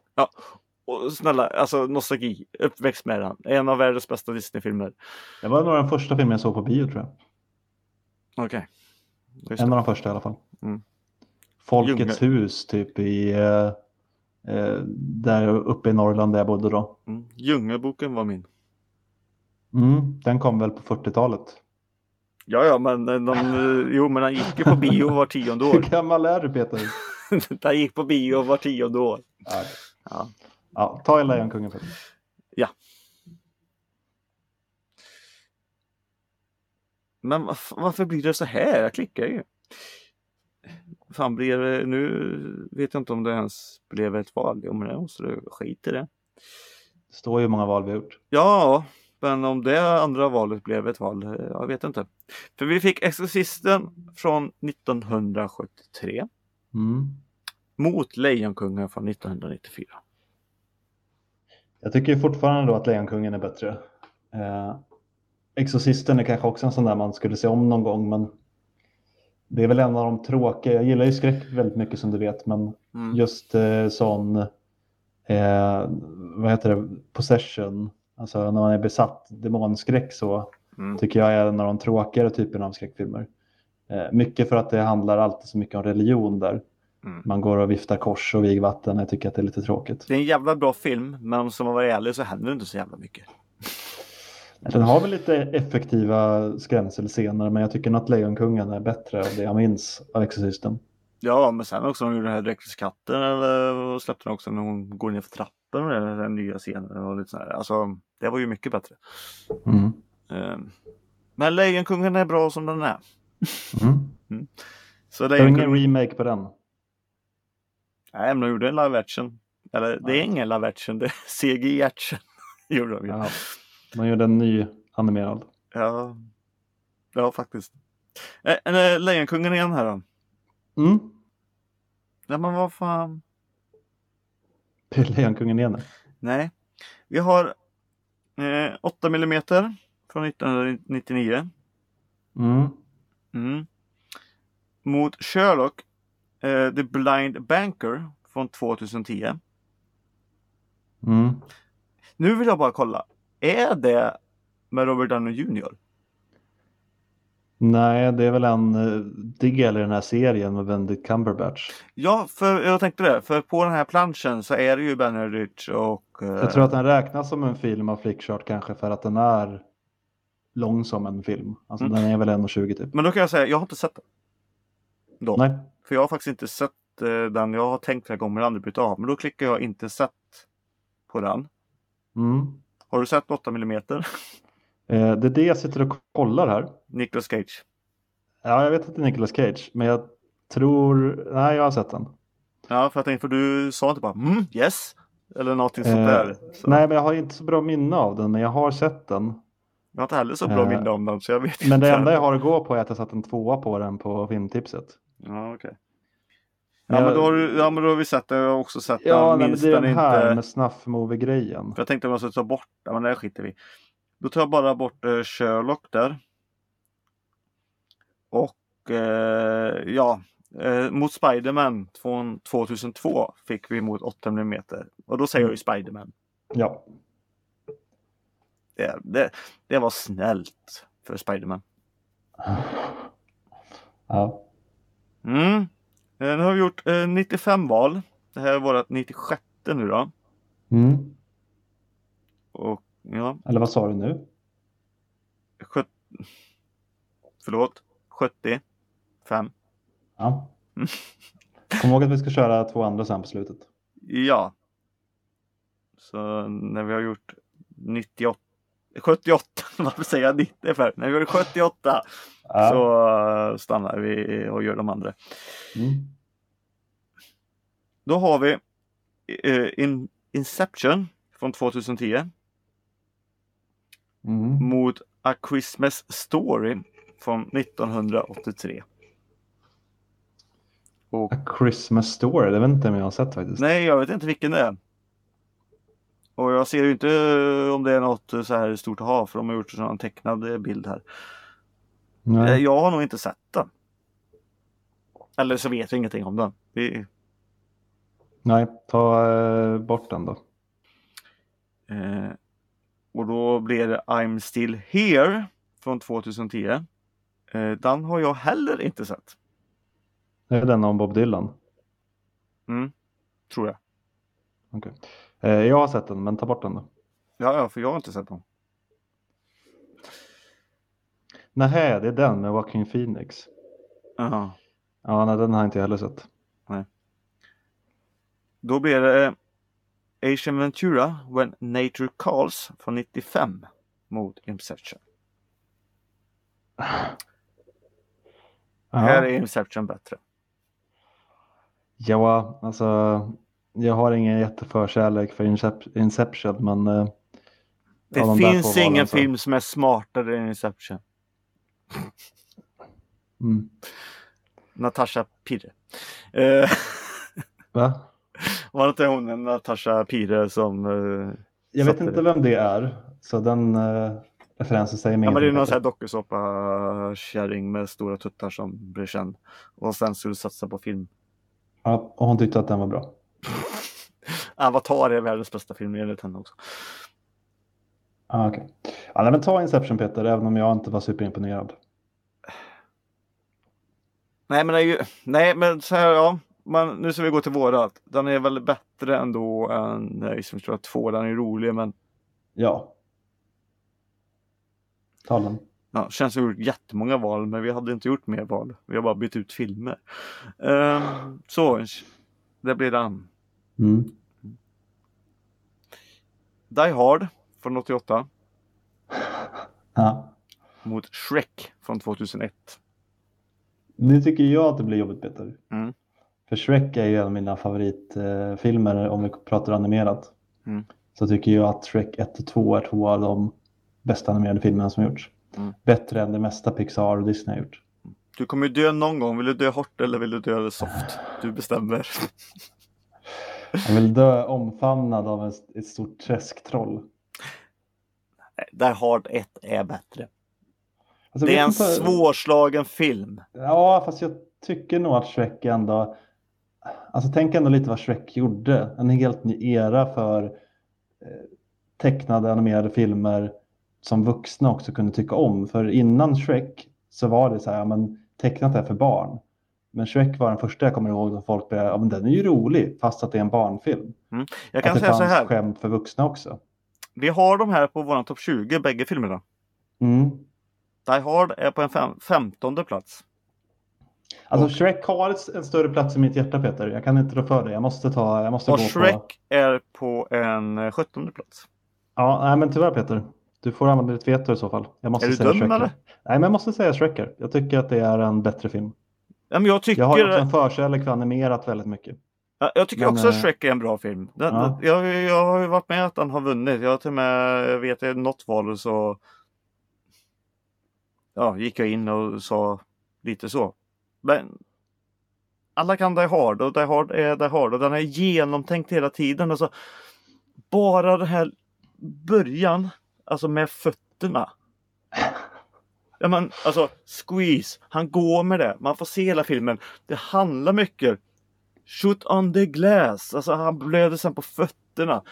Speaker 2: Och snälla, alltså nostalgi, uppväxt med den. En av världens bästa Disney-filmer.
Speaker 1: Det var nog den första filmen jag såg på bio tror jag.
Speaker 2: Okej. Just
Speaker 1: En
Speaker 2: det.
Speaker 1: av de första i alla fall.
Speaker 2: Mm.
Speaker 1: Folkets hus typ i eh, eh, där uppe i Norrland där jag bodde då.
Speaker 2: Mm. Djungelboken var min.
Speaker 1: Mm, den kom väl på 40-talet.
Speaker 2: Ja, ja, men eh, de, eh, jo, men han gick ju på bio var tionde
Speaker 1: Hur
Speaker 2: år.
Speaker 1: gammal är du Peter?
Speaker 2: han gick på bio var tionde år.
Speaker 1: Ja.
Speaker 2: Ja.
Speaker 1: Ja, ta en Lejonkungen för
Speaker 2: Men varf- varför blir det så här? Jag klickar ju. Fan, blir det, nu vet jag inte om det ens blev ett val. Jo, men det måste du skit i det.
Speaker 1: Det står ju hur många val vi har gjort.
Speaker 2: Ja, men om det andra valet blev ett val, eh, jag vet inte. För vi fick Exorcisten från 1973
Speaker 1: Mm.
Speaker 2: mot Lejonkungen från 1994.
Speaker 1: Jag tycker ju fortfarande då att Lejonkungen är bättre. Eh, Exorcisten är kanske också en sån där man skulle se om någon gång, men det är väl en av de tråkiga. Jag gillar ju skräck väldigt mycket som du vet, men
Speaker 2: Mm.
Speaker 1: just eh, sån, eh, vad heter det, possession, alltså när man är besatt, demonskräck så,
Speaker 2: Mm.
Speaker 1: tycker jag är en av de tråkigare typerna av skräckfilmer. Eh, mycket för att det handlar alltid så mycket om religion där.
Speaker 2: Mm.
Speaker 1: Man går och viftar kors och vigvatten, jag tycker att det är lite tråkigt.
Speaker 2: Det är en jävla bra film, men om man var ärlig så händer det inte så jävla mycket.
Speaker 1: Den har väl lite effektiva skrämselscener, men jag tycker nog att Lejonkungen är bättre av det jag minns av Exorcisten.
Speaker 2: Ja, men sen också när de gjorde den här Dräktelskatten eller och släppte den också när hon går ner för trappan och det, den här nya scenen och lite sådär. Alltså, det var ju mycket bättre.
Speaker 1: Mm.
Speaker 2: Eh, Men Lejonkungen är bra som den är.
Speaker 1: Mm.
Speaker 2: Så
Speaker 1: Det är ingen
Speaker 2: Lejonkungen...
Speaker 1: remake på den.
Speaker 2: Nej, men de gjorde en live action. Eller det är ingen live action, det är CG action. gjorde de ju.
Speaker 1: Ja. Man gjorde en ny animerad.
Speaker 2: Ja. ja, faktiskt. Eh, eh, Lejonkungen igen här då.
Speaker 1: Mm.
Speaker 2: Nej, men vad fan.
Speaker 1: Det är Lejonkungen igen.
Speaker 2: Nej. Vi har eh, 8 mm från 1999.
Speaker 1: Mm.
Speaker 2: Mm. Mot Sherlock eh, The Blind Banker från 2010.
Speaker 1: Mm.
Speaker 2: Nu vill jag bara kolla. Är det med Robert Downey Jr?
Speaker 1: Nej, det är väl en eh, del i den här serien med Benedict Cumberbatch.
Speaker 2: Ja, för jag tänkte det. För på den här planschen så är det ju Benedict och... Eh,
Speaker 1: Jag tror att den räknas som en film av Flickchart kanske för att den är lång som en film. Alltså
Speaker 2: Mm.
Speaker 1: den är väl 1,20 typ.
Speaker 2: Men då kan jag säga, jag har inte sett den. Då.
Speaker 1: Nej,
Speaker 2: För jag har faktiskt inte sett eh, den. Jag har tänkt flera gånger aldrig bryta av. Men då klickar jag inte sett på den.
Speaker 1: mm.
Speaker 2: Har du sett 8 mm?
Speaker 1: eh, det är det jag sitter och kollar här.
Speaker 2: Nicolas Cage.
Speaker 1: Ja, jag vet att det är Nicolas Cage, men jag tror... Nej, jag har sett den.
Speaker 2: Ja, för jag tänkte, för du sa inte bara mm, yes. Eller någonting sånt
Speaker 1: Eh,
Speaker 2: där. Så
Speaker 1: Nej, men jag har inte så bra minne av den, men jag har sett den.
Speaker 2: Jag har inte heller så bra
Speaker 1: eh,
Speaker 2: minne om den så jag vet
Speaker 1: Men
Speaker 2: inte.
Speaker 1: det enda jag har att gå på är att jag satt en tvåa på den på filmtipset.
Speaker 2: Ja, okej.
Speaker 1: Men
Speaker 2: Ja, men
Speaker 1: jag-
Speaker 2: då har du, ja, men då har vi sett den. Jag har också sett
Speaker 1: Ja,
Speaker 2: den.
Speaker 1: nej, men
Speaker 2: Minns
Speaker 1: det är
Speaker 2: den
Speaker 1: den här
Speaker 2: inte.
Speaker 1: med snuffmovie-grejen.
Speaker 2: För jag tänkte om jag skulle ta bort den, men det här skiter vi Då tar jag bara bort eh, Sherlock där. Och eh, ja, eh, mot Spiderman från 2002 fick vi mot 8 mm. Och då säger jag ju Spiderman.
Speaker 1: Ja,
Speaker 2: Det, det, det var snällt för Spiderman.
Speaker 1: ja.
Speaker 2: Mm. Eh, Nu har vi gjort eh, 95 val. Det här är vårat 96 nu då.
Speaker 1: Mm.
Speaker 2: Och ja,
Speaker 1: Eller vad sa du nu?
Speaker 2: 70... Förlåt, 75.
Speaker 1: Ja. Kom ihåg att vi ska köra två andra sen på slutet.
Speaker 2: Ja. Så när vi har gjort 98... 78, varför säger jag 90 för? När vi har gjort 78
Speaker 1: Ja.
Speaker 2: så eh, stannar vi och gör de andra.
Speaker 1: Mm.
Speaker 2: Då har vi eh, in, Inception från 2010
Speaker 1: Mm.
Speaker 2: mot A Christmas Story från 1983. Och,
Speaker 1: A Christmas Story, det vet inte om jag har sett faktiskt.
Speaker 2: nej, jag vet inte vilken det är. Och jag ser ju inte eh, om det är något eh, så här stort att ha för de har gjort en sån tecknad eh, bild här. Eh,
Speaker 1: Nej.
Speaker 2: Jag har nog inte sett den. Eller så vet jag ingenting om den. Vi,
Speaker 1: Nej, ta eh, bort den då.
Speaker 2: eh, och då blir det I'm still here från 2010. Eh, den har jag heller inte sett,
Speaker 1: Det är den om Bob Dylan.
Speaker 2: tror jag.
Speaker 1: Okej. Eh, jag har sett den, men ta bort den då.
Speaker 2: Ja, ja, för jag har inte sett den.
Speaker 1: Nähä, det är den med Joaquin Phoenix.
Speaker 2: Jaha.
Speaker 1: Ja, nej, den har jag inte heller sett.
Speaker 2: Då blir det eh, Asian Ventura When Nature Calls från 95 mot Inception.
Speaker 1: Ja.
Speaker 2: Här är Inception bättre.
Speaker 1: Ja, alltså jag har ingen jätteförkärlek för Incep- Inception, men eh,
Speaker 2: Det
Speaker 1: av de där
Speaker 2: finns
Speaker 1: två valen
Speaker 2: ingen
Speaker 1: så-
Speaker 2: film som är smartare än Inception.
Speaker 1: Mm.
Speaker 2: Natasha Pirre. Eh,
Speaker 1: Va?
Speaker 2: var det inte hon, en Natasha Pirre, som... Eh,
Speaker 1: Jag
Speaker 2: Så
Speaker 1: vet
Speaker 2: att-
Speaker 1: inte vem det är, så den eh, referensen säger mig
Speaker 2: ja, men det är
Speaker 1: ingenting
Speaker 2: någon sån här
Speaker 1: faktiskt.
Speaker 2: dokusåpa-kärring med stora tuttar som blir känd. Och sen skulle satsa på film.
Speaker 1: ja, och hon tyckte att den var bra.
Speaker 2: Avatar är världens bästa film enligt henne också.
Speaker 1: Ah, okay. ja, nej, men ta Inception Peter, även om jag inte var superimponerad.
Speaker 2: Nej men, det är ju, nej, men så här, ja. Men nu ska vi gå till vårat. Den är väl bättre ändå än eh, Isfjordsfjord 2. Den är rolig men
Speaker 1: Ja. Ta den.
Speaker 2: ja, känns som vi gjort jättemånga val. Men vi hade inte gjort mer val. Vi har bara bytt ut filmer. Ehm, så, det blir den.
Speaker 1: Mm.
Speaker 2: Die Hard från 88
Speaker 1: Ja.
Speaker 2: mot Shrek från 2001.
Speaker 1: Nu tycker jag att det blir jobbigt Peter.
Speaker 2: Mm.
Speaker 1: För Shrek är ju en av mina favoritfilmer eh, om vi pratar animerat.
Speaker 2: Mm.
Speaker 1: Så tycker jag att Shrek 1 och 2 är två av de bästa animerade filmerna som gjorts.
Speaker 2: Mm.
Speaker 1: Bättre än det mesta Pixar och Disney har gjort.
Speaker 2: Du kommer ju dö någon gång. Vill du dö hårt eller vill du dö soft? Du bestämmer.
Speaker 1: Jag vill dö omfamnad av en- ett stort träsktroll.
Speaker 2: Nej, Die Hard 1 är bättre.
Speaker 1: Alltså,
Speaker 2: Det
Speaker 1: vet
Speaker 2: är en
Speaker 1: inte-
Speaker 2: svårslagen film.
Speaker 1: Ja, fast jag tycker nog att Shrek ändå... Alltså tänk ändå lite vad Shrek gjorde. En helt ny era för eh, tecknade animerade filmer som vuxna också kunde tycka om. För innan Shrek så var det så här, ja, men tecknat är för barn. Men Shrek var den första jag kommer ihåg där folk började, ja men den är ju rolig fast att det är en barnfilm.
Speaker 2: Jag kan
Speaker 1: att det
Speaker 2: säga så här.
Speaker 1: skämt för vuxna också.
Speaker 2: Vi har de här på våran topp 20, bägge filmerna.
Speaker 1: Mm.
Speaker 2: Die Hard är på en fem, femtonde plats.
Speaker 1: Alltså Shrek har ett- en större plats i mitt hjärta Peter. Jag kan inte rå för det. Jag måste ta, jag måste
Speaker 2: Och
Speaker 1: gå
Speaker 2: Shrek
Speaker 1: på...
Speaker 2: är på en eh, sjuttonde plats.
Speaker 1: Ja, nej, men tyvärr Peter. Du får använda ditt veto i så fall. Jag måste
Speaker 2: Är du
Speaker 1: säga
Speaker 2: dum,
Speaker 1: Shrek.
Speaker 2: eller?
Speaker 1: Nej, men jag måste säga Shrekker. Jag tycker att det är en bättre film.
Speaker 2: Ja, men jag tycker,
Speaker 1: Jag
Speaker 2: jag
Speaker 1: har ju också en förkärlek för animerat väldigt mycket.
Speaker 2: jag, tycker
Speaker 1: men,
Speaker 2: också att
Speaker 1: eh,
Speaker 2: Shrek är en bra film. Den,
Speaker 1: ja.
Speaker 2: jag, jag har ju varit med att den har vunnit. Jag har till och med, jag vet i något val så ja, gick jag in och sa lite så. Men alla kan Die Hard och Die Hard är Die Hard och den är genomtänkt hela tiden. Alltså, bara den här början, alltså med fötterna. Ja, men, alltså, squeeze, han går med det. Man får se hela filmen. Det handlar mycket. Shoot on the glass, alltså han blöder sen på fötterna.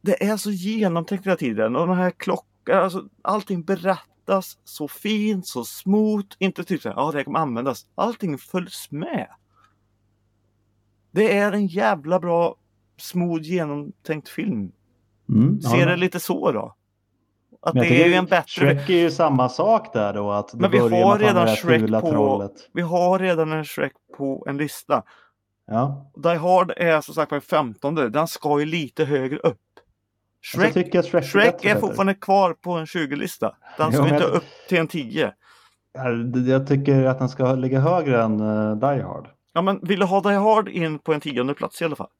Speaker 2: Det är så genomtänkt hela tiden och den här klockan, alltså allting berättas så fint, så smooth. Inte typ såhär, ja det här kommer användas. Allting följs med. Det är en jävla bra, smooth, genomtänkt film.
Speaker 1: Mm,
Speaker 2: Ser det lite så då? Att
Speaker 1: Men jag
Speaker 2: det är
Speaker 1: tycker
Speaker 2: ju en bättre
Speaker 1: Shrek är ju samma sak där då. Att det
Speaker 2: Men vi
Speaker 1: börjar med
Speaker 2: har
Speaker 1: att han är
Speaker 2: redan
Speaker 1: det här
Speaker 2: Shrek
Speaker 1: fula
Speaker 2: på-
Speaker 1: Trollet.
Speaker 2: Vi har redan en Shrek på en lista.
Speaker 1: Ja. Alltså,
Speaker 2: Die Hard är som sagt på en femtonde. Den ska ju lite högre upp.
Speaker 1: Shrek, Alltså, jag
Speaker 2: Shrek,
Speaker 1: tycker att Shrek,
Speaker 2: Shrek
Speaker 1: bättre,
Speaker 2: är
Speaker 1: Peter.
Speaker 2: fortfarande kvar på en 20-lista. Den
Speaker 1: Jo,
Speaker 2: ska
Speaker 1: men
Speaker 2: inte
Speaker 1: jag-
Speaker 2: upp till en 10.
Speaker 1: Jag tycker att den ska ligga högre än eh, Die Hard.
Speaker 2: Ja, men vill du ha Die Hard in på en tionde plats i alla fall?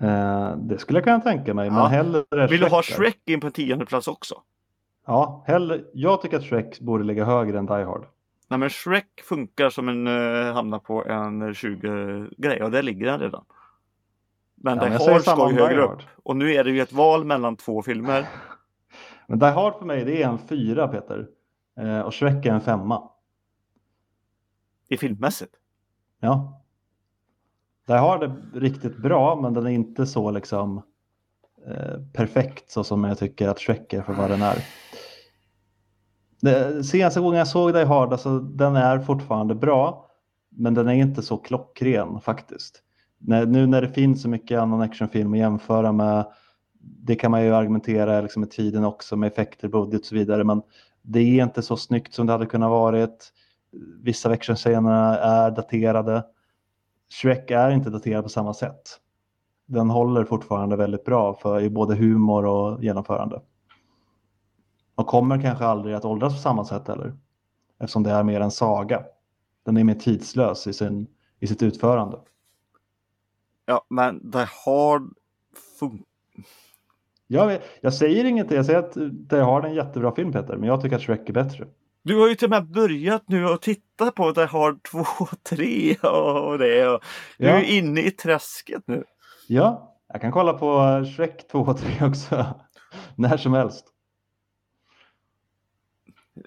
Speaker 1: Eh, det skulle jag kunna tänka mig,
Speaker 2: Ja.
Speaker 1: men hellre
Speaker 2: Vill du ha
Speaker 1: där.
Speaker 2: Shrek in på en tionde plats också?
Speaker 1: Ja, hellre, jag tycker att Shrek borde ligga högre än Die Hard.
Speaker 2: Nej men Shrek funkar som en, eh, hamnar på en 20 grej och där ligger den redan. Men
Speaker 1: Ja, men jag
Speaker 2: Die
Speaker 1: säger
Speaker 2: Hard
Speaker 1: samma
Speaker 2: ska
Speaker 1: om
Speaker 2: ju
Speaker 1: Die
Speaker 2: högre upp.
Speaker 1: Hard.
Speaker 2: Och nu är det ju ett val mellan två filmer.
Speaker 1: Men Die Hard för mig, det är en fyra, Peter. Eh, och Shrek är en femma.
Speaker 2: Det är filmmässigt.
Speaker 1: Ja. Die Hard är riktigt bra, men den är inte så liksom eh, perfekt så som jag tycker att Shrek är för vad den är. Det, senaste gången jag såg Die Hard, alltså, den är fortfarande bra, men den är inte så klockren faktiskt. När, nu när det finns så mycket annan actionfilm att jämföra med, det kan man ju argumentera liksom, med tiden också, med effekter, budget och så vidare, men det är inte så snyggt som det hade kunnat varit. Vissa av actionscenerna är daterade. Shrek är inte daterad på samma sätt. Den håller fortfarande väldigt bra för i både humor och genomförande. Och kommer kanske aldrig att åldras på samma sätt heller. Eftersom det är mer en saga. Den är mer tidslös i, sin, i sitt utförande.
Speaker 2: Ja, men Die Hard funkar.
Speaker 1: Jag, vet- jag säger inget, jag säger att det har en jättebra film Peter, men jag tycker att Shrek är bättre.
Speaker 2: Du har ju till och med börjat nu att titta på Die Hard 2 och 3 och det. Och du är
Speaker 1: Ja.
Speaker 2: ju inne i träsket nu.
Speaker 1: Ja, jag kan kolla på Shrek 2 och 3 också. När som helst.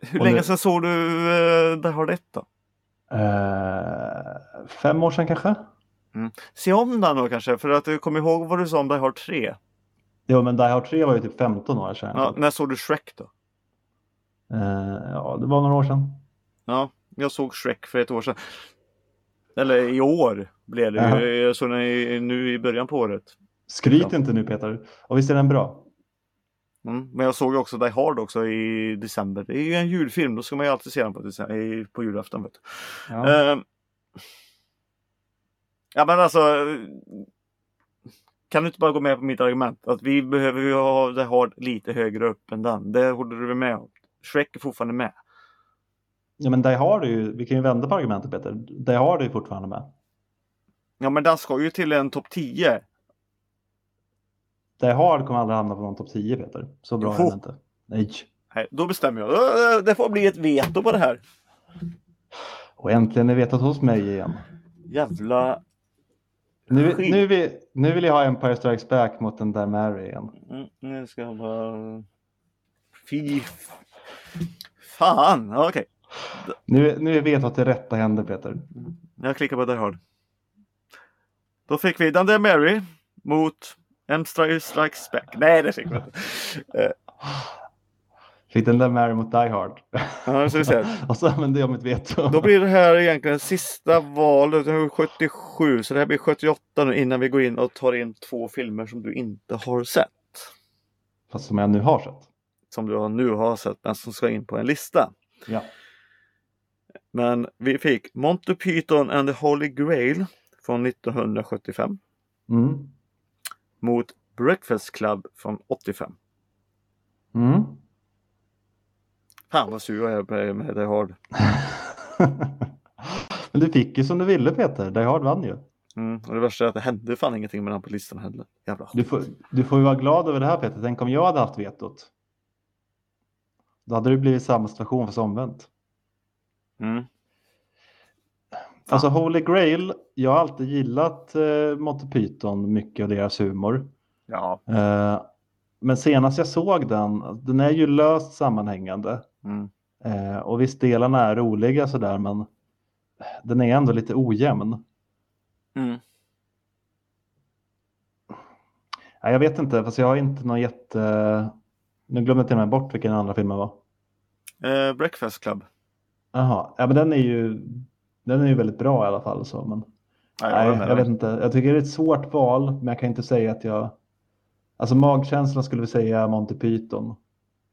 Speaker 2: Hur
Speaker 1: Och
Speaker 2: länge
Speaker 1: nu-
Speaker 2: sedan såg du uh, Die Hard 1 då?
Speaker 1: Eh, fem år sedan kanske?
Speaker 2: Se om den då kanske, för att du kommer ihåg vad du sa om Die Hard 3.
Speaker 1: Jo, men Die Hard 3 var ju typ 15 år sedan.
Speaker 2: Ja, när såg du Shrek då?
Speaker 1: Eh, ja, det var några år sedan.
Speaker 2: Ja, jag såg Shrek för ett år sedan. Eller i år blev det
Speaker 1: Jaha.
Speaker 2: ju. Jag såg den i- nu i början på året.
Speaker 1: Skryt
Speaker 2: Ja.
Speaker 1: inte nu Peter. Och visst är den bra?
Speaker 2: Mm. Men jag såg ju också Die Hard också i december. Det är ju en julfilm, då ska man ju alltid se den på, december, i- på julafton. Vet du.
Speaker 1: Ja.
Speaker 2: Ja. Eh, ja men alltså. Kan du inte bara gå med på mitt argument? Att vi behöver ju ha The Hard lite högre upp än den. Det håller du väl med om? Shrek är fortfarande med.
Speaker 1: ja, men Die Hard är ju, vi kan ju vända på argumentet Peter. Die Hard är ju fortfarande med.
Speaker 2: Ja men den ska ju till en topp 10.
Speaker 1: Die Hard kommer aldrig hamna på någon topp 10 Peter. Så bra är
Speaker 2: Jo.
Speaker 1: den inte. Nej,
Speaker 2: Nej, då bestämmer jag. Ö, ö, Det får bli ett veto på det här.
Speaker 1: och äntligen är vetat hos mig igen.
Speaker 2: Jävla...
Speaker 1: Nu,
Speaker 2: Skit.
Speaker 1: nu, vill, nu vill jag ha Empire Strikes Back mot den där Mary igen.
Speaker 2: Mm, Nu ska jag bara... Fy... Fan, okej.
Speaker 1: Nu, nu vet jag att det rätta händer Peter.
Speaker 2: Jag klickar på Die Hard. Då fick vi Dundee Mary mot Emstra Strikes Back. Nej, det fick vi inte. Eh,
Speaker 1: Fick den där Mary mot Die Hard.
Speaker 2: Ja, nu ska vi se.
Speaker 1: och så använde jag mitt veto.
Speaker 2: Då blir det här egentligen sista valet. Det är 77, så det här blir 78 nu innan vi går in och tar in två filmer som du inte har sett.
Speaker 1: Fast som jag nu har sett.
Speaker 2: Som du har- nu har sett, men som ska in på en lista.
Speaker 1: Ja.
Speaker 2: Men vi fick Monty Python and the Holy Grail från 1975
Speaker 1: Mm.
Speaker 2: mot Breakfast Club från 85.
Speaker 1: Mm.
Speaker 2: Fan vad sur jag är på- med Die Hard.
Speaker 1: Men du fick ju som du ville Peter. Die Hard vann ju.
Speaker 2: Mm, och det värsta är att det hände fan ingenting med den på listan heller. Jävla
Speaker 1: Du
Speaker 2: skit.
Speaker 1: får, du får ju vara glad över det här Peter. Tänk om jag hade haft vetot. Då hade det blivit samma situation fast omvänt.
Speaker 2: Mm.
Speaker 1: Alltså Holy Grail, jag har alltid gillat eh, Monty Python mycket och deras humor.
Speaker 2: Ja.
Speaker 1: Eh, men senast jag såg den, den är ju löst sammanhängande.
Speaker 2: Mm.
Speaker 1: Eh, och visst, delarna är roliga sådär, men den är ändå lite ojämn.
Speaker 2: Mm.
Speaker 1: Nej, jag vet inte, fast jag har inte någon jätte... Nu glömde jag till och med bort vilken den andra filmen var.
Speaker 2: Eh, Breakfast Club.
Speaker 1: Jaha, ja, men den är ju... Den är ju väldigt bra i alla fall. Så, men...
Speaker 2: Nej, jag
Speaker 1: Nej,
Speaker 2: håller med
Speaker 1: jag
Speaker 2: dig.
Speaker 1: vet inte. Jag tycker det är ett svårt val, men jag kan inte säga att jag... Alltså magkänslan skulle vi säga Monty Python.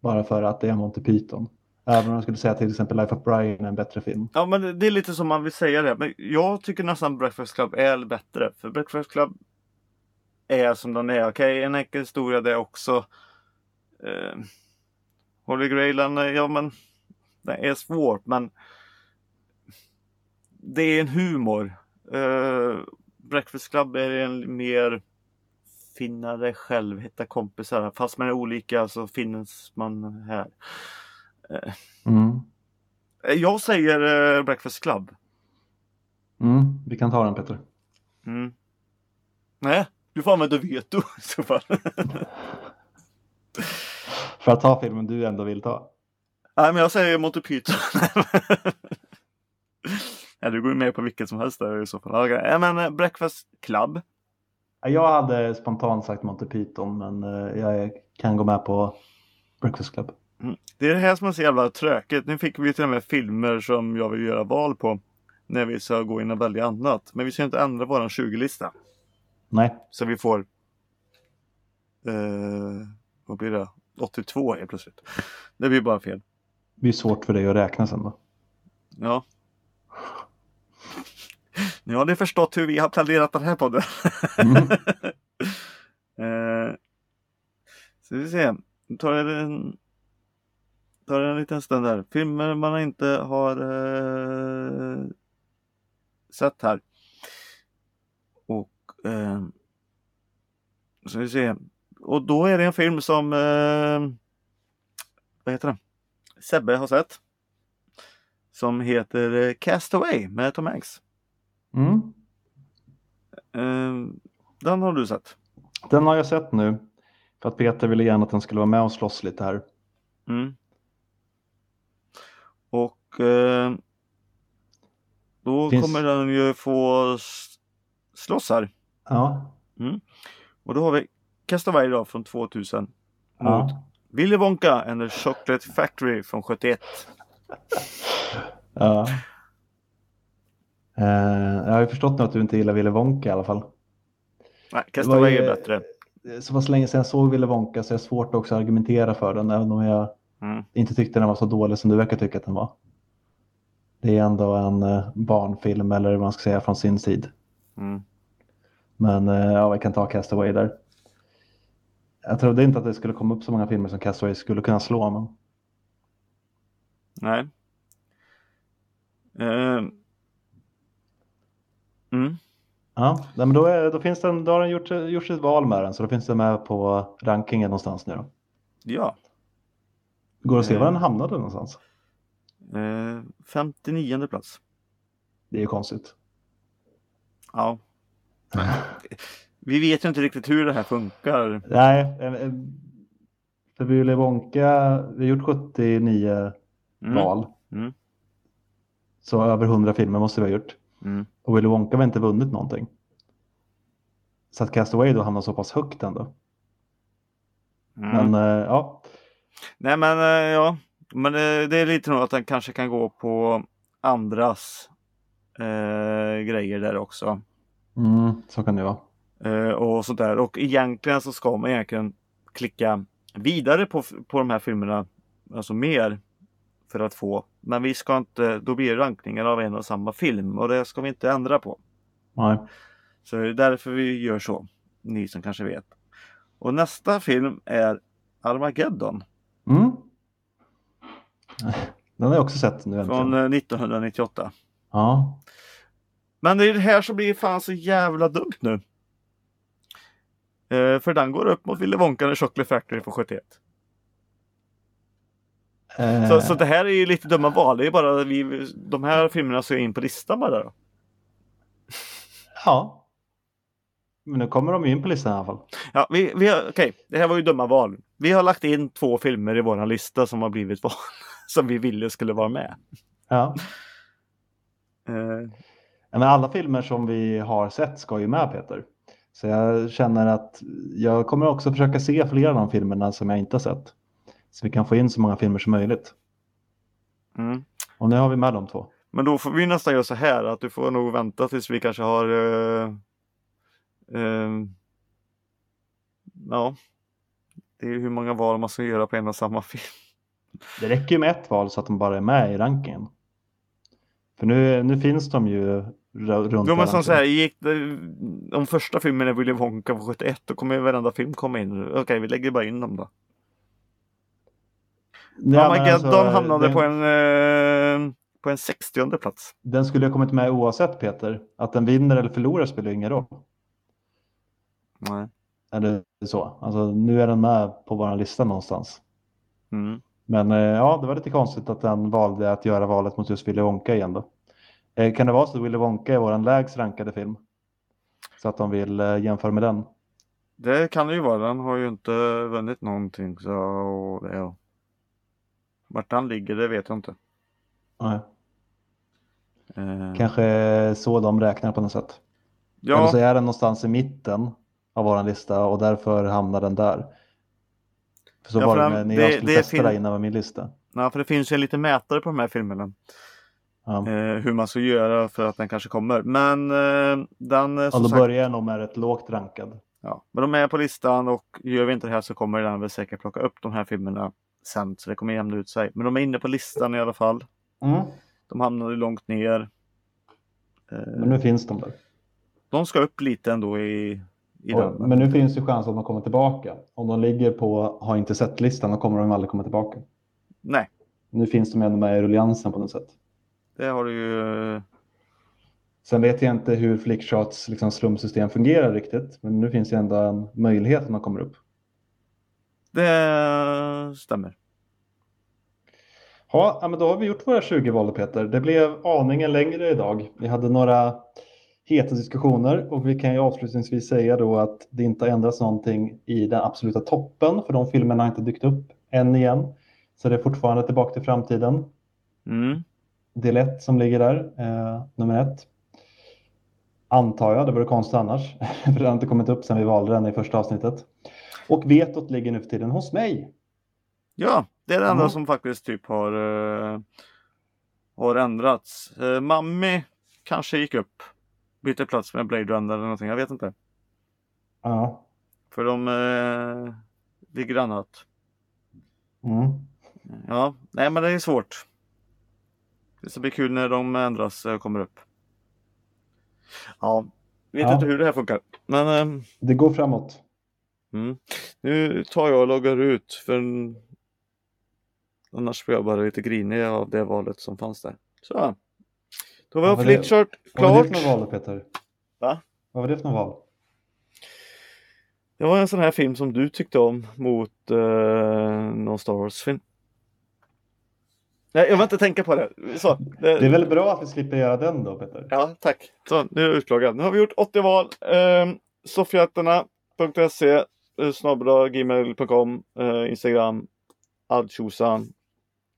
Speaker 1: Bara för att det är Monty Python. Även om jag skulle säga till exempel Life of Brian är en bättre film.
Speaker 2: Ja men det- det är lite som man vill säga det. Men jag tycker nästan Breakfast Club är bättre. För Breakfast Club är som den är. Okej, en enkel historia det också. Eh, Holy Grailen, eh, ja men det är svårt men det är en humor. Eh, Breakfast Club är en mer finna dig själv, hitta kompisar. Fast man är olika så finns man här.
Speaker 1: Mm.
Speaker 2: Eh, Jag säger eh, Breakfast Club.
Speaker 1: Mm. Vi kan ta den Peter.
Speaker 2: Mm. Nej, du får använda veto i så fall.
Speaker 1: För att ta filmen du ändå vill ta.
Speaker 2: Nej, men jag säger Monty Python. ja, du går ju med på vilket som helst där i så fall. Okej, ja, men eh, Breakfast Club.
Speaker 1: Ja, Jag hade spontant sagt Monty Python men eh, jag kan gå med på Breakfast Club.
Speaker 2: Det är det här som är så jävla tråkigt. Nu fick vi ju till och med filmer som jag vill göra val på. När vi ska gå in och välja annat. Men vi ska ju inte ändra våran 20-lista.
Speaker 1: Nej,
Speaker 2: Så vi får... Eh, vad blir det? 82 helt plötsligt. Det blir bara fel.
Speaker 1: det är svårt för dig att räkna sen då.
Speaker 2: Ja. Nu har ni förstått hur vi har planerat den här podden.
Speaker 1: Mm.
Speaker 2: Eh, ska vi se. Nu tar jag en, tar jag en liten stund där. Filmer man inte har eh, sett här. Och eh, ska vi se. Och då är det en film som eh, vad heter den? Sebbe har sett. Som heter eh, Castaway med Tom Hanks.
Speaker 1: Mm.
Speaker 2: Eh, den har du sett.
Speaker 1: Den har jag sett nu. För att Peter ville gärna att den skulle vara med och slåss lite här.
Speaker 2: Mm. Och eh, då
Speaker 1: Finns-
Speaker 2: kommer den ju få s- slåss här.
Speaker 1: Ja.
Speaker 2: Och då har vi Castaway då från 2000.
Speaker 1: Ja.
Speaker 2: Willy Wonka and the Chocolate Factory från 71.
Speaker 1: ja. Eh, jag har ju förstått nu att du inte gillar Wille Wonka i alla fall.
Speaker 2: Nej, Castaway
Speaker 1: ju-
Speaker 2: är bättre.
Speaker 1: Det är Så pass länge sedan jag såg Wille Wonka så är det är svårt också att argumentera för den även om jag
Speaker 2: Mm.
Speaker 1: inte tyckte den var så dålig som du verkar tycka att den var. Det är ändå en eh, barnfilm eller vad man ska säga från sin tid.
Speaker 2: Mm.
Speaker 1: Men eh, ja, vi kan ta Castaway där. Jag trodde inte att det skulle komma upp så många filmer som Castaway skulle kunna slå. Men...
Speaker 2: Nej. Eh, mm.
Speaker 1: Ja, nej, men då, är, då, finns den, då har den gjort, gjort sitt val med den så då finns den med på rankingen någonstans nu. Då.
Speaker 2: Ja.
Speaker 1: Går det att se var
Speaker 2: Mm.
Speaker 1: den hamnade någonstans?
Speaker 2: Eh, 59 plats.
Speaker 1: Det är ju konstigt.
Speaker 2: Ja. Vi vet ju inte riktigt hur det här funkar. Mm.
Speaker 1: Nej, eh, eh, för Willy Wonka, vi har gjort 79
Speaker 2: Mm.
Speaker 1: val.
Speaker 2: Mm.
Speaker 1: Så över 100 filmer måste vi ha gjort.
Speaker 2: Mm.
Speaker 1: Och Willy Wonka har inte vunnit någonting. Så att Castaway då hamnar så pass högt ändå.
Speaker 2: Mm.
Speaker 1: Men eh, ja,
Speaker 2: Nej men eh, ja, men eh, det är lite nog att den kanske kan gå på andras eh, grejer där också.
Speaker 1: mm, så kan det vara.
Speaker 2: Eh, och sånt där. Och egentligen så ska man egentligen klicka vidare på, f- på de här filmerna, alltså mer för att få. Men vi ska inte, då blir det rankningar av en och samma film och det ska vi inte ändra på.
Speaker 1: Nej.
Speaker 2: Så det är därför vi gör så, ni som kanske vet. Och nästa film är Armageddon
Speaker 1: Mm. Den har jag också sett nu äntligen.
Speaker 2: från eh, 1998.
Speaker 1: Ja.
Speaker 2: Men det är det här som blir fan så jävla dumt nu. Eh, för den går upp mot Willy Wonka och Chocolate Factory på 71.
Speaker 1: Eh,
Speaker 2: Så, så det här är ju lite dumma val. Det är bara vi, de här filmerna ska in på listan bara. Då.
Speaker 1: Ja. Men nu kommer de ju in på listan i alla fall.
Speaker 2: Ja, vi, vi har, okej, det här var ju dumma val. Vi har lagt in två filmer i våran lista som har blivit val. Som vi ville skulle vara med.
Speaker 1: Ja.
Speaker 2: Eh,
Speaker 1: Ja, Men alla filmer som vi har sett ska ju med Peter. Så jag känner att jag kommer också försöka se flera av de filmerna som jag inte har sett. Så vi kan få in så många filmer som möjligt.
Speaker 2: mm.
Speaker 1: Och nu har vi med de två.
Speaker 2: Men då får vi nästan göra så här att du får nog vänta tills vi kanske har... eh, eh, ja. Det är ju hur många val man ska göra på en och samma film.
Speaker 1: Det räcker ju med ett val så att de bara är med i rankingen. För nu, nu finns de ju r- runt
Speaker 2: Jo men
Speaker 1: hela
Speaker 2: som
Speaker 1: tiden.
Speaker 2: så här, gick det, om första filmen är Willy Wonka på 71 då kommer ju varenda film komma in. Okej, vi lägger bara in dem då.
Speaker 1: Nej, men
Speaker 2: Armageddon
Speaker 1: alltså,
Speaker 2: hamnade
Speaker 1: den,
Speaker 2: på en eh, på en 60 plats.
Speaker 1: Den skulle ha kommit med oavsett Peter. Att den vinner eller förlorar spelar ju ingen roll.
Speaker 2: Nej.
Speaker 1: Eller så. Alltså, nu är den med på vår lista någonstans.
Speaker 2: Mm.
Speaker 1: Men eh, ja, det var lite konstigt att den valde att göra valet mot just Willy Wonka igen då. Eh, Kan det vara så att Willy Wonka är vår lägst rankade film? Så att de vill eh, jämföra med den?
Speaker 2: Det kan det ju vara. Den har ju inte vunnit någonting. Så och det, ja. Vart den ligger, det vet jag inte.
Speaker 1: Nej.
Speaker 2: Eh,
Speaker 1: Kanske så de räknar på något sätt. Eller så
Speaker 2: ja,
Speaker 1: är den någonstans i mitten av vår lista och därför hamnar den där. För så
Speaker 2: Ja,
Speaker 1: var
Speaker 2: för
Speaker 1: det
Speaker 2: den-
Speaker 1: när när
Speaker 2: det-
Speaker 1: jag skulle
Speaker 2: det är
Speaker 1: testa det
Speaker 2: film-
Speaker 1: innan med min lista.
Speaker 2: nej, för det finns ju en liten mätare på de här filmerna.
Speaker 1: Ja.
Speaker 2: Eh, hur man ska göra för att den kanske kommer. Men eh, den eh,
Speaker 1: Ja,
Speaker 2: som
Speaker 1: då
Speaker 2: sagt,
Speaker 1: börjar den nog med rätt lågt rankad.
Speaker 2: ja, men de är på listan och gör vi inte det här så kommer den väl säkert plocka upp de här filmerna sen. Så det kommer jämna ut sig. Men de är inne på listan i alla fall.
Speaker 1: Mm.
Speaker 2: De hamnade långt ner. Eh,
Speaker 1: Men nu finns de där.
Speaker 2: de ska upp lite ändå i, i
Speaker 1: Och,
Speaker 2: den.
Speaker 1: men nu finns ju chans att de kommer tillbaka. Om de ligger på har inte sett-listan då kommer de aldrig komma tillbaka.
Speaker 2: Nej,
Speaker 1: Nu finns de ändå med i rulliansen på något sätt.
Speaker 2: det har du ju. eh,
Speaker 1: Sen vet jag inte hur Flickcharts liksom, slumsystem fungerar riktigt. Men nu finns det ändå en möjlighet att de kommer upp.
Speaker 2: Det stämmer.
Speaker 1: Ja, ja, men då har vi gjort våra 20 val Peter. Det blev aningen längre idag. Vi hade några heta diskussioner och vi kan ju avslutningsvis säga då att det inte har ändrats någonting i den absoluta toppen för de filmerna har inte dykt upp än igen. Så det är fortfarande tillbaka till framtiden.
Speaker 2: Mm.
Speaker 1: Del 1 som ligger där, eh, nummer ett. Antar jag, det vore konstigt annars. för det har inte kommit upp sedan vi valde den i första avsnittet. Och vetot ligger nu för tiden hos mig.
Speaker 2: Ja, det är det enda
Speaker 1: Mm.
Speaker 2: som faktiskt typ har, eh, har ändrats. Eh, Mammi kanske gick upp. Bytte plats med Blade Runner eller någonting, jag vet inte.
Speaker 1: Ja.
Speaker 2: För de eh, ligger annat.
Speaker 1: Mm.
Speaker 2: Ja, nej men det är svårt. Det ska bli kul när de ändras och kommer upp. Ja, vet
Speaker 1: Ja.
Speaker 2: inte hur det här funkar. Men ehm,
Speaker 1: Det går framåt.
Speaker 2: Mm. Nu tar jag och loggar ut för en- annars blir jag bara lite grinig av det valet som fanns där. Så. Då var
Speaker 1: Ja, men det-
Speaker 2: Flitchart
Speaker 1: Vad var
Speaker 2: klart.
Speaker 1: det för något val Peter?
Speaker 2: Va?
Speaker 1: Vad var det för något val?
Speaker 2: Det var en sån här film som du tyckte om mot eh, någon Star Wars-film. Nej, jag vill inte tänka på det. Så, det,
Speaker 1: Det är väl bra att vi slipper göra den då Peter?
Speaker 2: Ja, tack. Så, nu är jag utloggad. Nu har vi gjort 80 val. Eh, Soffhjältarna.se eh, snabbla gmail.com eh, Instagram Alltjosan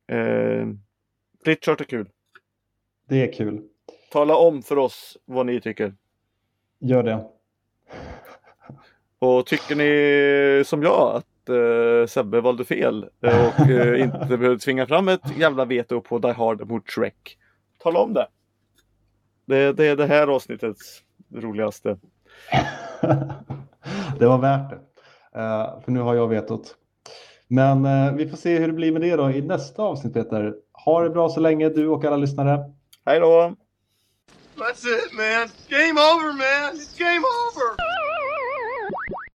Speaker 2: eh, Flitchart är kul.
Speaker 1: Det är kul.
Speaker 2: Tala om för oss vad ni tycker.
Speaker 1: Gör det.
Speaker 2: Och tycker ni som jag att eh, Sebbe valde fel eh, och eh, inte behövde tvinga fram ett jävla veto på Die Hard mot Shrek. Tala om det. Det, det är det här avsnittets roligaste.
Speaker 1: det var värt det. Eh, för nu har jag vetot. Men eh, vi får se hur det blir med det då i nästa avsnitt Peter. Ha det bra så länge du och alla lyssnare.
Speaker 2: Hej då!
Speaker 3: That's it, man. Game over, man. It's game over.